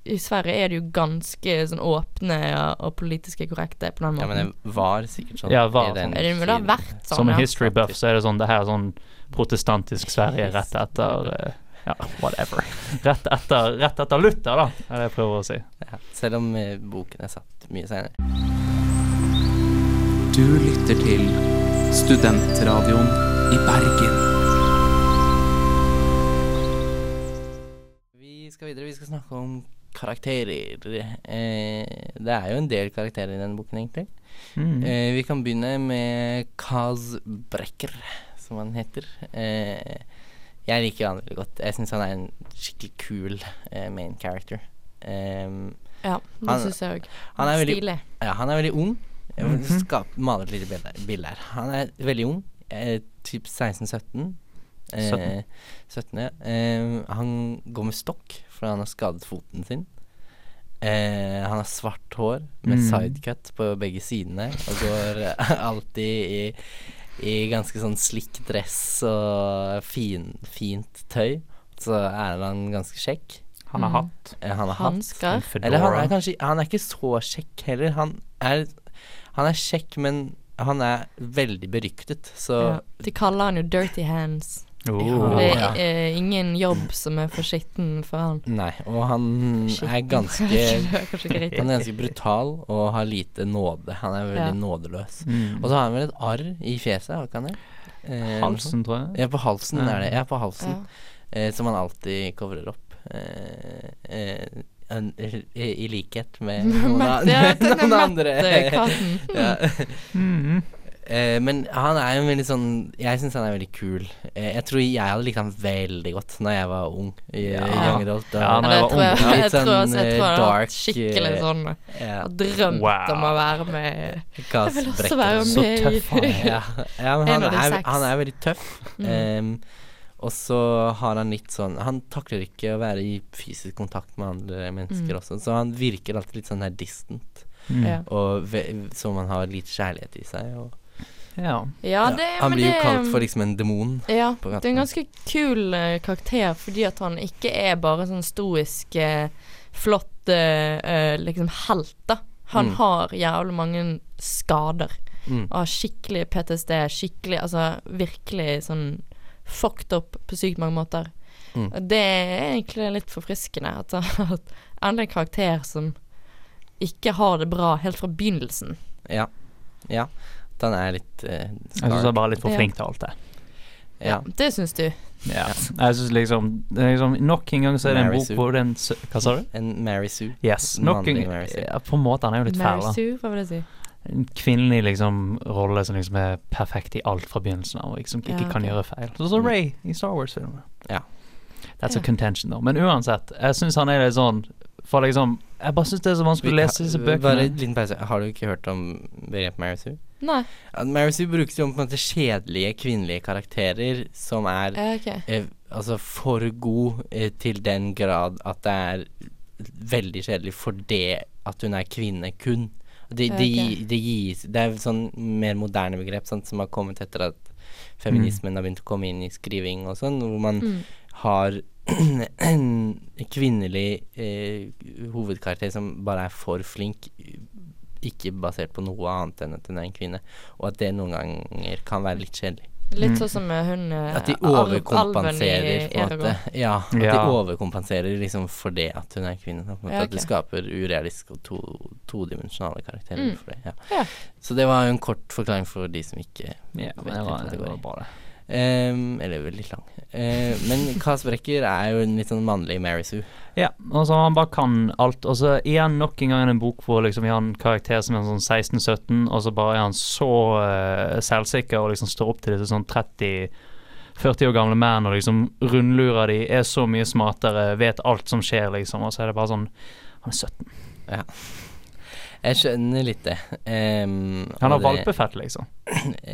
Speaker 2: I Sverige er det jo ganske sånn åpne og, og politiske korrekte på den
Speaker 1: Ja, men
Speaker 2: måten.
Speaker 1: det var sikkert sånn.
Speaker 3: Ja, var
Speaker 1: i den
Speaker 3: sånn.
Speaker 2: Ja, det må da ha
Speaker 1: tiden.
Speaker 2: vært sånn.
Speaker 3: Som en
Speaker 2: ja.
Speaker 3: history buff, så er det sånn Det her er sånn protestantisk Sverige rett etter eh, Ja, whatever. Rett etter, rett etter Luther, da, er det jeg prøver å si.
Speaker 1: Ja, selv om eh, boken er satt mye senere.
Speaker 4: Du lytter til Studentradioen i Bergen.
Speaker 1: Vi skal videre. Vi skal snakke om karakterer. Eh, det er jo en del karakterer i denne boken, egentlig.
Speaker 3: Mm.
Speaker 1: Eh, vi kan begynne med Kaz Brekker, som han heter. Eh, jeg liker han veldig godt. Jeg syns han er en skikkelig kul eh, main character. Ehm,
Speaker 2: Ja, det
Speaker 1: Han-
Speaker 2: syns jeg òg.
Speaker 1: han er veldig
Speaker 2: Stilig.
Speaker 1: ja, han er veldig ung. Jeg vil
Speaker 3: Mhm.
Speaker 1: skap- male et lite bilde, bilde her. Han er veldig ung, eh, typ 16-17. Eh,
Speaker 3: 17.
Speaker 1: 17, ja. Eh, han går med stokk fordi han har skadet foten sin. Eh, han har svart hår med
Speaker 3: Mm.
Speaker 1: sidecut på begge sidene og går eh, alltid i, i ganske sånn slick dress og fin, fint tøy. Så er han ganske kjekk.
Speaker 3: Han har
Speaker 2: Mm.
Speaker 3: hatt
Speaker 1: Eh, han har hatt
Speaker 2: Hansker.
Speaker 3: en fedora.
Speaker 1: eller han er kanskje Han er ikke så kjekk heller. Han er, han er kjekk, men han er veldig beryktet, så
Speaker 2: Ja. De kaller han jo Dirty Hands.
Speaker 3: Oh.
Speaker 2: Det
Speaker 1: Ja.
Speaker 2: er eh, ingen jobb som er for skitten for han.
Speaker 1: Nei. Og han Mm, er
Speaker 2: Skitten.
Speaker 1: ganske
Speaker 2: Det er kanskje ikke riktig.
Speaker 1: Han er ganske brutal og har lite nåde. Han er veldig
Speaker 2: Ja.
Speaker 1: nådeløs. Og
Speaker 3: Mm.
Speaker 1: så har han vel et arr i fjeset, har ikke han det? Eh,
Speaker 3: Halsen, tror jeg.
Speaker 1: Ja, på halsen
Speaker 3: Ja.
Speaker 1: er det. Ja, på halsen.
Speaker 2: Ja.
Speaker 1: Eh, som han alltid covrer opp. Eh, eh, en, i, I likhet med noen, an-
Speaker 2: Mette, ja, jeg tenkte
Speaker 1: noen
Speaker 2: Mette
Speaker 1: andre.
Speaker 2: Katten.
Speaker 1: ja. Eh, men han er jo en veldig sånn Jeg syns han er veldig kul. Eh, jeg tror jeg hadde likt han veldig godt Når jeg var ung. I,
Speaker 3: Ja.
Speaker 1: i young adult, da-
Speaker 3: Ja,
Speaker 2: Ja,
Speaker 3: når
Speaker 2: det
Speaker 3: jeg var
Speaker 2: tror jeg,
Speaker 1: ung.
Speaker 2: jeg,
Speaker 1: Litt
Speaker 2: tror
Speaker 1: sånn,
Speaker 2: også- jeg
Speaker 1: eh,
Speaker 2: tror han har
Speaker 1: dark,
Speaker 2: vært skikkelig
Speaker 1: eh,
Speaker 2: sånn
Speaker 1: ja.
Speaker 2: Har drømt
Speaker 3: Wow.
Speaker 2: om å være med
Speaker 1: Gas
Speaker 2: Jeg vil også
Speaker 1: brekker.
Speaker 2: være
Speaker 3: Så
Speaker 2: med
Speaker 3: tøff han er.
Speaker 1: ja. ja, men
Speaker 2: En
Speaker 1: han
Speaker 2: av de
Speaker 1: er,
Speaker 2: seks. Mm.
Speaker 1: han er veldig tøff. Ehm, og så har han litt sånn Han takler ikke å være i fysisk kontakt med andre mennesker
Speaker 2: Mm.
Speaker 1: også, så han virker alltid litt sånn her distant,
Speaker 3: Mm.
Speaker 2: Ja.
Speaker 1: og ve som han har lite kjærlighet i seg. Og,
Speaker 3: Ja.
Speaker 2: Ja, det
Speaker 1: han
Speaker 2: men
Speaker 1: blir jo
Speaker 2: det-
Speaker 1: kalt for liksom en demon.
Speaker 2: Ja,
Speaker 1: på
Speaker 2: det er en ganske kul eh, karakter fordi at han ikke er bare sånn stoisk, eh, flott største eh, liksom helt, da. Han
Speaker 1: Mm.
Speaker 2: har jævlig mange skader.
Speaker 1: Mm.
Speaker 2: Og har skikkelig PTSD, skikkelig Altså virkelig sånn fucked up på sykt mange måter.
Speaker 1: Mm.
Speaker 2: Og Det er egentlig litt forfriskende at, at endelig en karakter som ikke har det bra helt fra begynnelsen.
Speaker 1: Ja. ja. At han er litt eh,
Speaker 3: Jeg syns
Speaker 1: scarred.
Speaker 3: han er bare litt for
Speaker 2: Ja.
Speaker 3: flink til alt det.
Speaker 1: Ja.
Speaker 2: Det syns du.
Speaker 3: Ja. Jeg synes liksom, liksom Nok en gang så er det en
Speaker 1: Mary
Speaker 3: bok
Speaker 1: Sue.
Speaker 3: hvor det er en sø- Hva sa du?
Speaker 1: En Mary Sue.
Speaker 3: Yes. Nok en
Speaker 1: Mannlig Mary Sue.
Speaker 3: ja, På en måte, han er jo litt fæl,
Speaker 2: Mary
Speaker 3: da.
Speaker 2: Sue, hva vil det si?
Speaker 3: En kvinnelig liksom rolle som liksom er perfekt i alt fra begynnelsen av, og liksom ikke
Speaker 2: Ja,
Speaker 3: kan
Speaker 2: ok.
Speaker 3: gjøre feil. Sånn som
Speaker 1: Mm.
Speaker 3: Ray i Star Wars-filmene.
Speaker 1: Ja.
Speaker 3: That's
Speaker 2: Ja.
Speaker 3: a contention, though. Men uansett, jeg syns han er litt sånn For liksom Jeg bare syns det er så vanskelig å lese disse
Speaker 1: Vi- Bare en
Speaker 3: bøkene.
Speaker 1: liten pause. Har du ikke hørt om begrepet Mary Sue?
Speaker 2: Nei.
Speaker 1: At Mary Sue brukes jo om på en måte kjedelige kvinnelige karakterer som er
Speaker 2: Ja, ok.
Speaker 1: eh, altså for god eh, til den grad at det er veldig kjedelig for det at hun er kvinne kun. Det, det,
Speaker 2: Ok.
Speaker 1: gi- det gis Det er sånn mer moderne begrep sant, som har kommet etter at feminismen har begynt å komme inn i skriving og sånn, hvor man
Speaker 2: Mm.
Speaker 1: har en kvinnelig eh, hovedkarakter som bare er for flink, ikke basert på noe annet enn at hun er en kvinne, og at det noen ganger kan være litt kjedelig.
Speaker 2: Litt
Speaker 3: Mm.
Speaker 2: sånn som eh, hun eh,
Speaker 1: At de
Speaker 2: Al-
Speaker 1: overkompenserer,
Speaker 2: alven i
Speaker 1: på en måte.
Speaker 2: Eragon.
Speaker 1: Ja, at
Speaker 3: Ja.
Speaker 1: de overkompenserer liksom for det at hun er kvinne. Da, på en måte.
Speaker 2: Ja,
Speaker 1: At det
Speaker 2: ok.
Speaker 1: skaper urealistiske og to, todimensjonale karakterer
Speaker 2: Mm.
Speaker 1: for det. Ja.
Speaker 2: Ja.
Speaker 1: Så det var jo en kort forklaring for de som ikke
Speaker 3: Ja, men det
Speaker 1: vet
Speaker 3: var,
Speaker 1: litt hva det
Speaker 3: det var
Speaker 1: går i.
Speaker 3: bra, det.
Speaker 1: Ehm, Eller veldig lang. Eh, men Kaz Brekker er jo en litt sånn mannlig Mary Sue.
Speaker 3: Ja, og så han bare kan alt. Og så igjen nok en gang en bok hvor liksom vi har en karakter som er sånn 16-17, og så bare er han så eh, selvsikker og liksom står opp til disse sånn 30 40 år gamle menn og liksom rundlurer de, er så mye smartere, vet alt som skjer, liksom. Og så er det bare sånn Han er 17.
Speaker 1: Jeg skjønner litt det. Ehm,
Speaker 3: Han har
Speaker 1: og det-
Speaker 3: valpefett, liksom.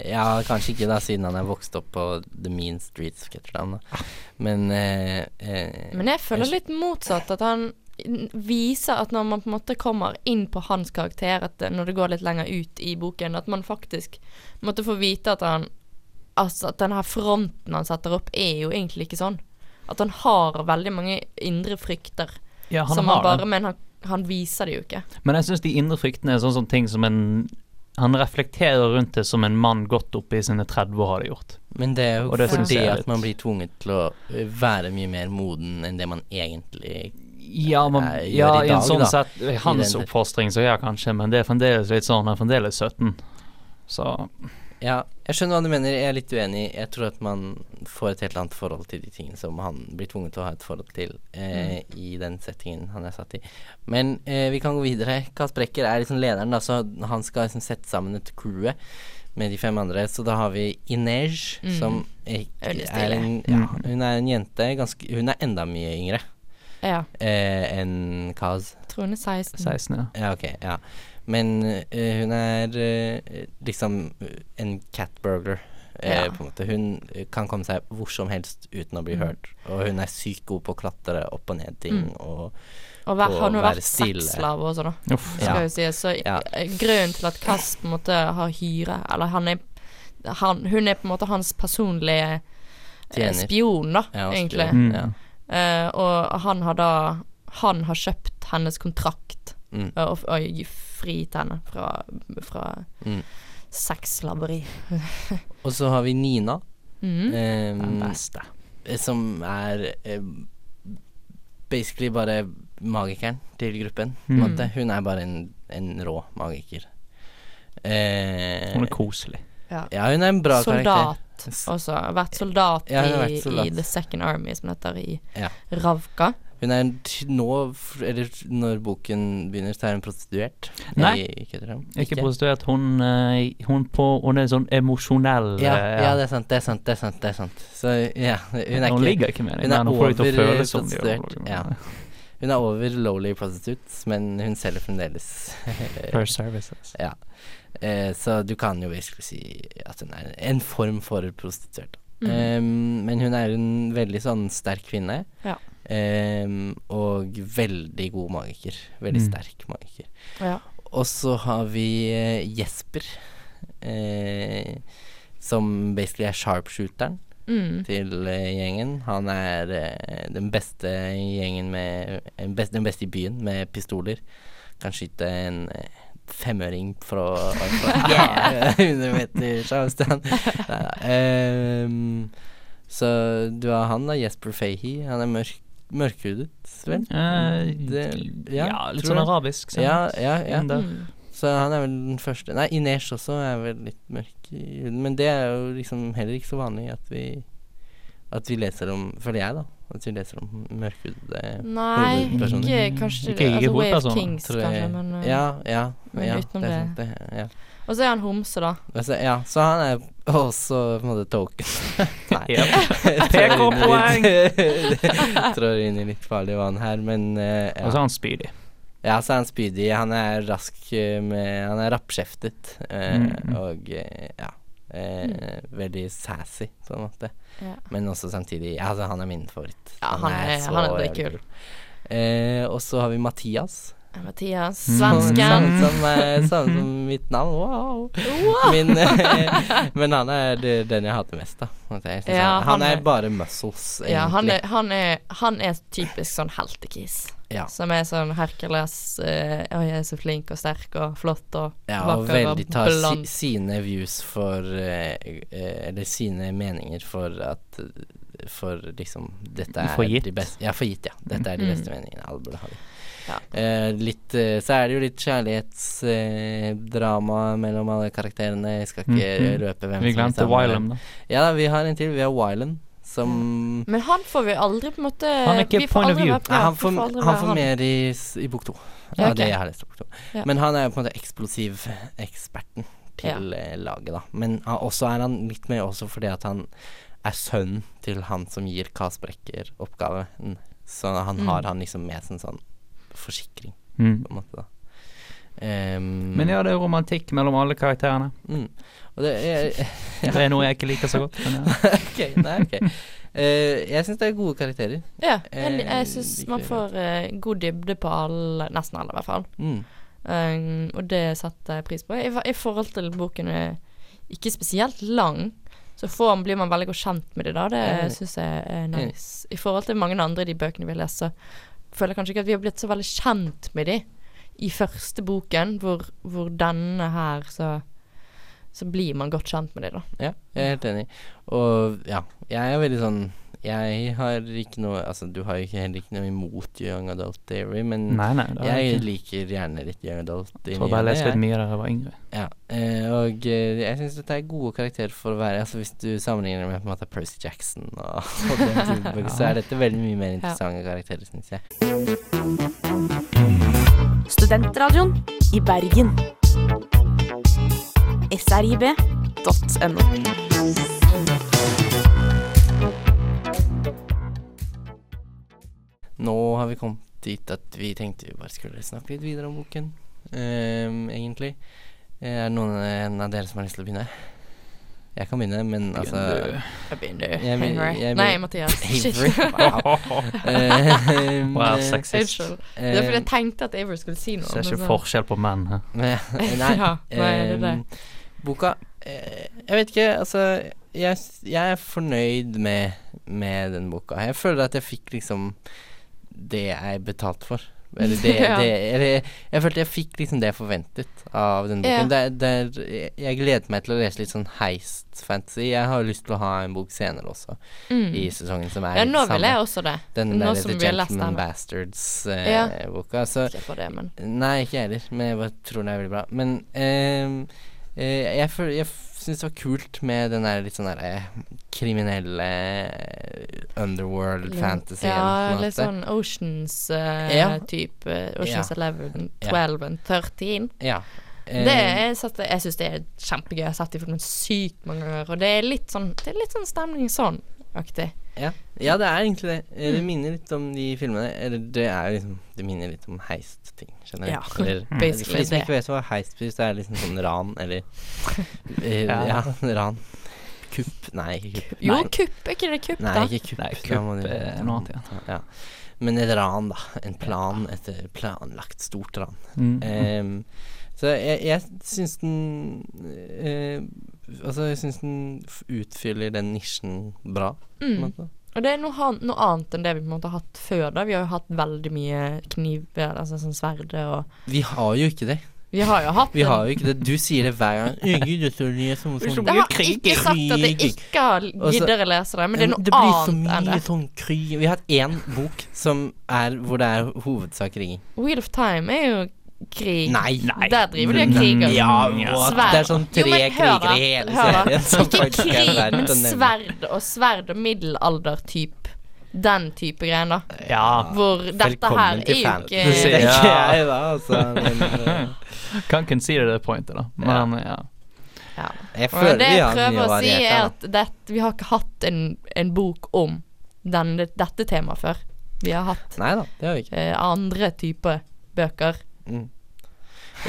Speaker 1: Ja, kanskje ikke da, siden han er vokst opp på the mean streets of Ketterland. da.
Speaker 3: Ah.
Speaker 1: Men eh, eh,
Speaker 2: Men jeg føler litt motsatt. At han n- viser at når man på en måte kommer inn på hans karakter, at det- når det går litt lenger ut i boken, at man faktisk måtte få vite at han Altså at den her fronten han setter opp, er jo egentlig ikke sånn. At han har veldig mange indre frykter
Speaker 3: Ja, han
Speaker 2: som han
Speaker 3: har
Speaker 2: bare
Speaker 3: det.
Speaker 2: Men han, han viser det jo ikke.
Speaker 3: Men jeg syns de indre fryktene er sånn som ting som en Han reflekterer rundt det som en mann godt oppe i sine 30 år hadde gjort.
Speaker 1: Men det er jo
Speaker 3: Og det
Speaker 2: synes
Speaker 1: fordi
Speaker 3: jeg er
Speaker 1: at
Speaker 3: litt-
Speaker 1: man blir tvunget til å eh, være mye mer moden enn det man egentlig
Speaker 3: Ja, man,
Speaker 1: Nei, gjør
Speaker 3: ja
Speaker 1: i
Speaker 3: i,
Speaker 1: dag,
Speaker 3: en sånn
Speaker 1: da.
Speaker 3: sett i Hans
Speaker 1: I den-
Speaker 3: oppfostring, så ja, kanskje, men det er fremdeles litt sånn. Han er fremdeles 17. Så
Speaker 1: Mm. Ja, jeg skjønner hva du mener, jeg er litt uenig. Jeg tror at man får et helt annet forhold til de tingene som han blir tvunget til å ha et forhold til eh,
Speaker 2: Mm.
Speaker 1: i den settingen han er satt i. Men eh, vi kan gå videre. Kaz Brekker er liksom lederen, da, så han skal liksom sette sammen et crewet med de fem andre. Så da har vi Inej,
Speaker 2: Mm.
Speaker 1: som er,
Speaker 2: Veldig
Speaker 1: er en, ja, hun er en jente ganske, Hun er enda mye yngre
Speaker 2: Ja.
Speaker 1: eh, enn Kaz.
Speaker 2: Jeg tror hun er 16.
Speaker 3: 16, ja.
Speaker 1: Ja, ok, ja. Men eh, hun er eh, liksom en catburgler, eh,
Speaker 2: Ja.
Speaker 1: på en måte. Hun eh, kan komme seg hvor som helst uten å bli
Speaker 2: Mm.
Speaker 1: hørt. Og hun er sykt god på å klatre opp og ned ting.
Speaker 2: Mm.
Speaker 1: Og,
Speaker 2: Og vær,
Speaker 1: På å
Speaker 2: han har
Speaker 1: være
Speaker 2: vært
Speaker 1: stille.
Speaker 2: sexslav også, da.
Speaker 3: Uff.
Speaker 1: Ja.
Speaker 2: skal jo sies. Så
Speaker 1: Ja.
Speaker 2: eh, grunnen til at Kass på en måte har hyre, eller han er han, Hun er på en måte hans personlige eh,
Speaker 1: Tjener.
Speaker 2: spion, da,
Speaker 1: Ja, og
Speaker 2: egentlig.
Speaker 1: spion.
Speaker 3: Mm.
Speaker 1: Ja.
Speaker 2: Eh, og han har da Han har kjøpt hennes kontrakt
Speaker 1: Mm.
Speaker 2: eh, og, og frigitt henne fra, fra
Speaker 1: Mm.
Speaker 2: sexslaveri.
Speaker 1: og så har vi Nina,
Speaker 2: Mhm.
Speaker 1: eh,
Speaker 3: Den beste.
Speaker 1: som er eh, basically bare magikeren til gruppen. På en
Speaker 3: Mm.
Speaker 1: måte. Hun er bare en, en rå magiker. Eh,
Speaker 3: Hun er koselig.
Speaker 2: Ja.
Speaker 1: ja, hun er en bra karakter.
Speaker 2: Soldat også. Har Vært soldat,
Speaker 1: Ja, hun har vært soldat.
Speaker 2: I, i The Second Army, som heter i
Speaker 1: Ja.
Speaker 2: Ravka.
Speaker 1: Hun er t- nå, f- eller t- når boken begynner, så er hun prostituert.
Speaker 3: Nei.
Speaker 1: I Køtterham.
Speaker 3: Ikke prostituert. Hun, eh, hun, på, hun er sånn emosjonell
Speaker 1: Ja,
Speaker 3: eh,
Speaker 1: ja, det er sant, det er sant, det er sant. det er sant Så ja, hun er,
Speaker 3: Hun
Speaker 1: ikke,
Speaker 3: ligger ikke med
Speaker 1: hun
Speaker 3: deg,
Speaker 1: er
Speaker 3: men hun får deg til å
Speaker 1: over, eh,
Speaker 3: føle som de gjør.
Speaker 1: prostituert, ja. hun er over lowly prostitutes, men hun selger fremdeles.
Speaker 3: Her services.
Speaker 1: ja. Eh, så du kan jo basically si at hun er en form for prostituert. da.
Speaker 2: Mm.
Speaker 1: Em, men hun er en veldig sånn sterk kvinne.
Speaker 2: Ja.
Speaker 1: Em, og veldig god magiker. Veldig
Speaker 3: Mm.
Speaker 1: sterk magiker.
Speaker 2: Ja.
Speaker 1: Og så har vi eh, Jesper, eh, som basically er sharpshooteren.
Speaker 2: Mm.
Speaker 1: til eh, gjengen. Han er eh, den beste i gjengen med eh, best, Den beste i byen med pistoler. Kan skyte en eh, femøring fra, fra yeah, 100 meters avstand. Neida. Ehm, så du har han, da. Jesper Fahey. Han er mørk, mørkhudet, vel?
Speaker 3: Eh,
Speaker 1: Det-
Speaker 3: ja,
Speaker 1: ja,
Speaker 3: litt
Speaker 1: tror
Speaker 3: sånn
Speaker 1: jeg.
Speaker 3: arabisk. sant?
Speaker 1: Ja, ja, ja.
Speaker 3: Inn der.
Speaker 2: Mm.
Speaker 1: Så han er vel den første Nei, Inesh også er vel litt mørk i huden, men det er jo liksom heller ikke så vanlig at vi At vi leser om Føler jeg, da. At vi leser om
Speaker 2: Mm,
Speaker 1: mørkhudede
Speaker 2: Nei,
Speaker 1: Hovedpersoner.
Speaker 2: ikke kanskje
Speaker 3: Ikke- ikke
Speaker 2: altså, Way of
Speaker 3: hovedpersoner,
Speaker 2: Kings,
Speaker 1: tror
Speaker 2: kanskje,
Speaker 1: jeg.
Speaker 2: men eh,
Speaker 1: Ja, ja.
Speaker 2: men
Speaker 1: ja
Speaker 2: utenom
Speaker 1: det er sant,
Speaker 2: det-
Speaker 1: det. Ja.
Speaker 2: Og så er han homse, da.
Speaker 1: Altså, ja. Så han er også på en måte token. Nei.
Speaker 3: Ja.
Speaker 1: Trår inn i
Speaker 3: PK-poeng!
Speaker 1: litt- Trår inn i litt farlig vann her, men eh,
Speaker 3: Og
Speaker 1: ja.
Speaker 3: så er han spydig.
Speaker 1: ja, så er han spydig. Han er rask eh, med Han er rappkjeftet. eh,
Speaker 3: Mm.
Speaker 1: Og eh, ja. Eh, veldig sassy, på en måte.
Speaker 2: Ja.
Speaker 1: Men også samtidig ja, altså, Han er min favoritt.
Speaker 2: Ja, han er-
Speaker 1: så
Speaker 2: han er
Speaker 1: jævlig
Speaker 2: dritkul.
Speaker 1: Eh, og så har vi Mathias.
Speaker 2: Eh, Mathias.
Speaker 3: Mm.
Speaker 2: Svensken.
Speaker 1: Samme som, eh, samme som mitt navn. Wow. Min, eh, men han er det- den jeg hater mest, da. måtte jeg si.
Speaker 2: Ja,
Speaker 1: han,
Speaker 2: han
Speaker 1: er
Speaker 2: er-
Speaker 1: bare muscles, egentlig.
Speaker 2: Ja, han er, han, er, han er typisk sånn heltekis.
Speaker 1: Ja.
Speaker 2: Som er sånn Hercules eh, Å, jeg er så flink og sterk og flott og
Speaker 1: Ja, og
Speaker 2: vakker og
Speaker 1: veldig tar si,
Speaker 2: blond.
Speaker 1: sine views for eh, eh, Eller sine meninger for at eh, For liksom Dette er
Speaker 3: For gitt.
Speaker 1: de beste Ja, for gitt, ja. Dette er de
Speaker 2: Mm.
Speaker 1: beste meningene alle burde ha. det.
Speaker 2: Ja.
Speaker 1: Eh, litt, eh, så er det jo litt kjærlighetsdrama mellom alle karakterene. Jeg skal ikke
Speaker 3: Mhm.
Speaker 1: røpe hvem
Speaker 3: Vi
Speaker 1: som er
Speaker 3: glemte
Speaker 1: sammen med hvem.
Speaker 3: Wylum, da.
Speaker 1: Ja, da, vi har en til. Vi har Wylan, som
Speaker 2: Men han får vi aldri på en måte
Speaker 3: Han er ikke
Speaker 2: vi får
Speaker 3: point of
Speaker 2: aldri
Speaker 3: view.
Speaker 2: være på-
Speaker 1: Nei, han
Speaker 2: vi
Speaker 1: får,
Speaker 2: aldri
Speaker 1: han
Speaker 2: være
Speaker 1: får mer i, s- i bok to.
Speaker 2: Ja,
Speaker 1: Ja,
Speaker 2: ok.
Speaker 1: det jeg har lest i bok to.
Speaker 2: Ja.
Speaker 1: Men han er jo på en måte eksplosiveksperten til eh, laget, da. Men han, også er han litt med også fordi at han er sønnen til han som gir Kasprekker oppgaven. Så han
Speaker 2: Mm.
Speaker 1: har han liksom med som sånn forsikring,
Speaker 3: Mm.
Speaker 1: på en måte, da. Ehm,
Speaker 3: Men ja, det er romantikk mellom alle karakterene.
Speaker 1: mm. Og det er
Speaker 3: Det er noe jeg ikke liker så godt. Men, ja.
Speaker 1: Ok, nei, ok. Eh, jeg syns det er gode karakterer.
Speaker 2: Ja, jeg,
Speaker 1: Eh,
Speaker 2: jeg syns
Speaker 1: liker
Speaker 2: man
Speaker 1: det.
Speaker 2: får eh, god dybde på alle, nesten alle i hvert fall.
Speaker 1: Mm.
Speaker 2: Um, og det setter jeg pris på. I, fa- I forhold til boken er ikke spesielt lang, så får, blir man veldig godt kjent med det da. Det
Speaker 1: Enig.
Speaker 2: syns jeg er nice. I forhold til mange andre i de bøkene vi har lest, så føler jeg kanskje ikke at vi har blitt så veldig kjent med de i første boken, hvor, hvor denne her, så, så blir man godt kjent med de da.
Speaker 1: Ja, jeg er helt enig. Og ja, jeg er veldig sånn Jeg har ikke noe Altså, du har jo ikke- heller ikke noe imot Young Adult Theory, men
Speaker 3: Nei, nei. Det er
Speaker 1: Mm. jeg
Speaker 3: ikke.
Speaker 1: liker gjerne litt Young Adult. i
Speaker 3: Jeg
Speaker 1: ny
Speaker 3: tror bare jeg
Speaker 1: og ne,
Speaker 3: leste
Speaker 1: jeg.
Speaker 3: litt mye da jeg var yngre.
Speaker 1: Ja, eh, og eh, jeg syns dette er gode karakterer for å være Altså Hvis du sammenligner med på en måte Percy Jackson og, og den type bøker, så er dette veldig mye mer interessante karakterer, syns jeg.
Speaker 5: Studentradioen i Bergen. srib.no.
Speaker 1: Nå har vi kommet dit at vi tenkte vi bare skulle snakke litt videre om boken, ehm, egentlig. Eh, Er det noen en av dere som har lyst til å begynne? Jeg kan begynne, men altså
Speaker 2: Jeg begynner.
Speaker 1: Jeg begynner-
Speaker 2: Henry.
Speaker 1: jeg begynner-
Speaker 2: Nei, Mathias. Shit.
Speaker 1: Avery. Wow. Ehm,
Speaker 3: Wow,
Speaker 1: eh,
Speaker 3: sexist.
Speaker 2: Unnskyld. Det er fordi jeg tenkte at Avery skulle si noe.
Speaker 3: Ser
Speaker 2: men så-
Speaker 3: ikke forskjell på menn her.
Speaker 1: Nei.
Speaker 2: Ja, nei, det er det.
Speaker 1: ehm, boka eh, Jeg vet ikke, altså Jeg, s- jeg er fornøyd med, med den boka. Jeg føler at jeg fikk liksom det jeg betalte for. Eller det,
Speaker 2: Ja.
Speaker 1: det eller jeg, jeg følte jeg fikk liksom det jeg forventet av den
Speaker 2: Ja.
Speaker 1: boken. Det, er- det, er- jeg- jeg gleder meg til å lese litt sånn heist-fantasy. Jeg har lyst til å ha en bok senere også,
Speaker 2: Mm.
Speaker 1: i sesongen som er
Speaker 2: Ja,
Speaker 1: litt
Speaker 2: nå vil
Speaker 1: samme.
Speaker 2: jeg også det.
Speaker 1: Den
Speaker 2: nå
Speaker 1: der
Speaker 2: som
Speaker 1: The
Speaker 2: vi har lest den.
Speaker 1: Gentleman Bastards-boka.
Speaker 2: Ja.
Speaker 1: Så
Speaker 2: Ikke på det, men
Speaker 1: Nei, ikke jeg heller, men jeg bare tror den er veldig bra. Men ehm, eh, jeg, føl- jeg syns det var kult med den der litt sånn derre kriminelle eh, underworld fantasy
Speaker 2: Ja, litt sånn Oceans-type.
Speaker 1: Ja.
Speaker 2: eh, Oceans
Speaker 1: Ja.
Speaker 2: 11,
Speaker 1: Ja.
Speaker 2: 12 and 13.
Speaker 1: Ja. eh,
Speaker 2: Det er, satt, jeg syns det er kjempegøy. Jeg har sett det filmen sykt mange ganger, og det er litt sånn, det er litt sånn stemning sånn. Aktig.
Speaker 1: ja. ja, det er egentlig det. Eh,
Speaker 2: Mm.
Speaker 1: Det minner litt om de filmene. Eller det er liksom Det minner litt om heist-ting generelt.
Speaker 2: Ja,
Speaker 1: eller,
Speaker 2: basically
Speaker 1: Hvis du
Speaker 2: det.
Speaker 1: ikke vet hva heist betyr, så er det liksom sånn ran eller eh,
Speaker 3: Ja.
Speaker 1: ja. ran. Kupp. Nei, ikke kupp.
Speaker 2: Jo,
Speaker 1: Nei.
Speaker 2: kupp. Er ikke det kupp,
Speaker 1: Nei,
Speaker 2: da?
Speaker 1: ikke kupp.
Speaker 3: Nei,
Speaker 1: da
Speaker 3: kupp
Speaker 1: må du-
Speaker 3: er noe annet,
Speaker 1: ja. Men et ran, da. En plan, et eh, planlagt stort ran.
Speaker 3: Mm.
Speaker 1: Ehm, så jeg, jeg syns den eh, Altså, jeg syns den f- utfyller den nisjen bra. På en
Speaker 2: Mm.
Speaker 1: måte.
Speaker 2: Og det er noe, han- noe annet enn det vi på en måte har hatt før. da Vi har jo hatt veldig mye kniver, altså sånn sverd og
Speaker 1: Vi har jo ikke det.
Speaker 2: Vi har jo hatt
Speaker 1: Vi har
Speaker 2: en-
Speaker 1: jo ikke det. Du sier det hver gang. «Å, Gud, det er så mye sånn, sånn.
Speaker 2: Det har ikke sagt at jeg
Speaker 1: Kriging.
Speaker 2: ikke har
Speaker 1: Og så-
Speaker 2: gidder å lese det, men det er
Speaker 1: Men
Speaker 2: noe
Speaker 1: Altså, blir så
Speaker 2: annet enn
Speaker 1: mye
Speaker 2: det.
Speaker 1: sånn kry Vi har hatt én bok som er, hvor det er hovedsak kriging.
Speaker 2: Wheel of Time er jo krig.
Speaker 1: Nei. Mm.
Speaker 2: Der driver de og kriger.
Speaker 1: Ja,
Speaker 3: Mm, Ja.
Speaker 1: what?
Speaker 2: Sverd.
Speaker 1: Det er sånn
Speaker 2: Jo,
Speaker 1: tre
Speaker 2: men hør da,
Speaker 1: kriger i hele
Speaker 2: hør da.
Speaker 1: serien. som faktisk
Speaker 2: Ikke
Speaker 1: er
Speaker 2: krig,
Speaker 1: verdt
Speaker 2: men
Speaker 1: å nevne.
Speaker 2: sverd og sverd og middelalder-type. Den type greier, da.
Speaker 3: Ja.
Speaker 2: Hvor dette her
Speaker 1: Velkommen
Speaker 2: er
Speaker 1: til
Speaker 2: jo
Speaker 1: fantasy.
Speaker 2: ikke
Speaker 3: Ja.
Speaker 1: Tenker jeg da, altså. Men, eh,
Speaker 3: Kan concede det pointet, da. Men ja.
Speaker 2: ja.
Speaker 1: jeg
Speaker 2: Og
Speaker 1: føler
Speaker 2: Det
Speaker 1: vi
Speaker 2: jeg
Speaker 1: har mye
Speaker 2: prøver å si, er
Speaker 1: variert.
Speaker 2: at det, vi har ikke hatt en, en bok om den, dette temaet før. Vi har hatt
Speaker 1: Nei da, det har vi ikke.
Speaker 2: eh, andre typer bøker.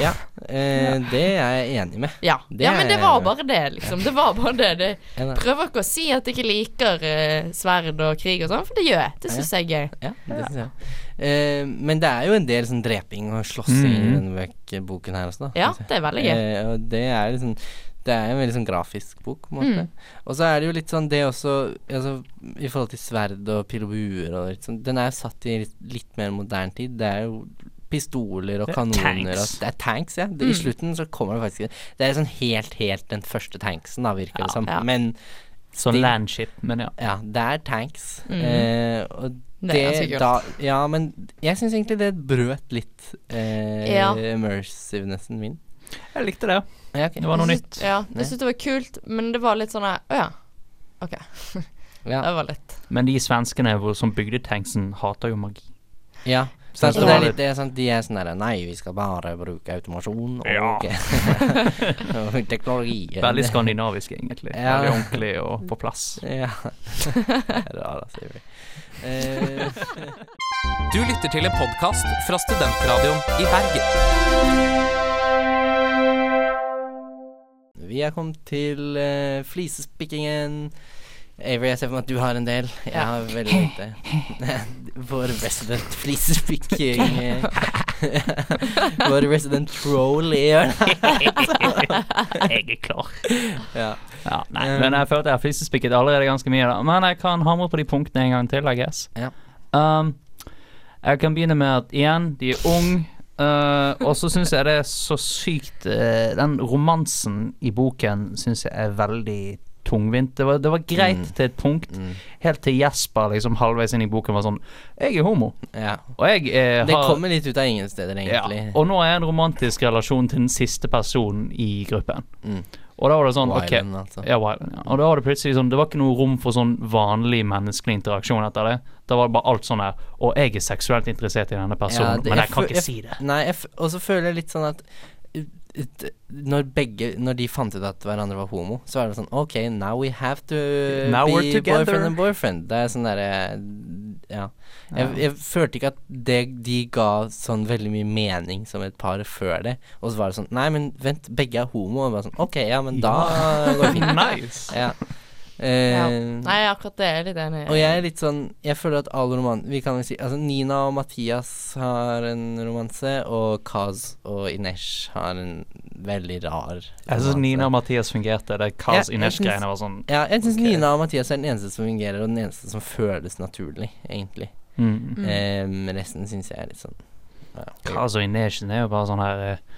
Speaker 1: Ja, eh, det er jeg enig med.
Speaker 2: Ja.
Speaker 1: Det
Speaker 2: ja, men det
Speaker 1: er-
Speaker 2: var bare det, liksom. Det var bare det. det.
Speaker 1: Jeg er enig.
Speaker 2: Prøver ikke å si at jeg ikke liker eh, sverd og krig og sånn, for det gjør jeg. Det syns jeg er gøy.
Speaker 1: Ja, det synes jeg. Eh, men det er jo en del sånn dreping og slåssing i denne bøk- boken her også, da.
Speaker 2: Mm. Ja, det er veldig gøy.
Speaker 1: Eh, og det er liksom Det er en veldig sånn grafisk bok, på en måte.
Speaker 2: Mm.
Speaker 1: Og så er det jo litt sånn det også altså, I forhold til sverd og pil og buer og litt sånn Den er jo satt i litt, litt mer moderne tid. Det er jo pistoler og
Speaker 3: Det er
Speaker 1: kanoner
Speaker 3: tanks.
Speaker 1: og Det er tanks, ja. Det, I
Speaker 2: Mm.
Speaker 1: slutten så kommer det faktisk Det er sånn helt, helt den første tanksen, da, virker
Speaker 3: Ja,
Speaker 1: det som.
Speaker 2: ja.
Speaker 1: Men
Speaker 3: Sånn landship, men ja.
Speaker 1: ja, det er tanks.
Speaker 2: Mhm.
Speaker 1: Eh, og
Speaker 2: Det er ganske
Speaker 1: det,
Speaker 2: kult.
Speaker 1: da, ja, men jeg syns egentlig det brøt litt eh,
Speaker 2: Ja.
Speaker 1: immersivenessen min.
Speaker 3: Jeg likte det.
Speaker 1: Ja, ok.
Speaker 3: Det var noe
Speaker 2: Jeg
Speaker 3: nytt.
Speaker 2: syns- Ja, jeg syntes det var kult, men det var litt sånn her Å ja. OK.
Speaker 1: Ja.
Speaker 2: Det var litt
Speaker 3: Men de svenskene hvor, som bygde tanksen, hater jo magi.
Speaker 1: Ja, sant, og
Speaker 3: Så det
Speaker 1: det
Speaker 3: var
Speaker 1: er
Speaker 3: litt-
Speaker 1: litt det, er sant, de er sånn der Nei, vi skal bare bruke automasjon og,
Speaker 3: Ja.
Speaker 1: og teknologi.
Speaker 3: Veldig skandinavisk, egentlig.
Speaker 1: Ja.
Speaker 3: Veldig ordentlig og på plass.
Speaker 1: Ja. Rar, altså. Juri. Eh,
Speaker 4: Du lytter til en podkast fra Studentradioen i Bergen.
Speaker 1: vi er kommet til eh, flisespikkingen. Avery, jeg ser for meg at du har en del. Jeg
Speaker 2: Ja.
Speaker 1: har veldig lite. Vår resident flisespikking eh, Vår resident troll i hjørnet.
Speaker 3: jeg er klar.
Speaker 1: Ja.
Speaker 3: Ja, nei,
Speaker 1: Um,
Speaker 3: men jeg følte jeg har flisespikket allerede ganske mye, da. Men jeg kan hamre på de punktene en gang til, I guess.
Speaker 1: Ja.
Speaker 3: Um, jeg kan begynne med at igjen, de er unge. og så syns jeg det er så sykt eh, Den romansen i boken syns jeg er veldig tungvint. Det var, det var greit
Speaker 1: Mm.
Speaker 3: til et punkt,
Speaker 1: Mm,
Speaker 3: helt til Jesper liksom halvveis inn i boken var sånn Jeg er homo,
Speaker 1: ja.
Speaker 3: og jeg eh,
Speaker 1: Det
Speaker 3: har
Speaker 1: kommer litt ut av ingen steder, egentlig.
Speaker 3: ja. Og nå er jeg en romantisk relasjon til den siste personen i gruppen.
Speaker 1: Mm.
Speaker 3: Og da var det sånn ok
Speaker 1: Wyland, altså.
Speaker 3: ja, Wyland, ja. Og da var det plutselig sånn Det var ikke noe rom for sånn vanlig menneskelig interaksjon etter det. Da var det bare alt sånn her Og jeg er seksuelt interessert i denne
Speaker 1: Ja,
Speaker 3: personen,
Speaker 1: det-
Speaker 3: Altså, men
Speaker 1: jeg
Speaker 3: jeg kan
Speaker 1: fø-
Speaker 3: ikke si det.
Speaker 1: Nei, jeg f og så føler jeg litt sånn at uh, uh, når begge Når de fant ut at hverandre var homo, så er det sånn OK, now we have to
Speaker 3: Now
Speaker 1: be
Speaker 3: we're together.
Speaker 1: boyfriend and boyfriend. Det er sånn derre Ja. Jeg,
Speaker 3: Ja.
Speaker 1: jeg følte ikke at det, de ga sånn veldig mye mening som et par før det. Og så var det sånn Nei, men vent, begge er homo. Og bare sånn OK, ja, men da går det fint.
Speaker 3: nice.
Speaker 1: Ja. Eh,
Speaker 2: Ja. Nei, akkurat det er jeg litt enig i.
Speaker 1: og jeg er litt sånn Jeg føler at alle roman... Vi kan vel si Altså, Nina og Mathias har en romanse, og Kaz og Inesh har en veldig rar
Speaker 3: Jeg syns
Speaker 1: romanse.
Speaker 3: Nina og Mathias fungerte. Det Kars
Speaker 1: Ja, jeg
Speaker 3: Inesh-greiene var sånn
Speaker 1: Ja, jeg syns
Speaker 3: Ok.
Speaker 1: Nina og Mathias er den eneste som fungerer, og den eneste som føles naturlig, egentlig.
Speaker 3: mm.
Speaker 2: Mm.
Speaker 1: Eh, resten syns jeg er litt sånn ja.
Speaker 3: Kaz og Inesh er jo bare sånn her eh,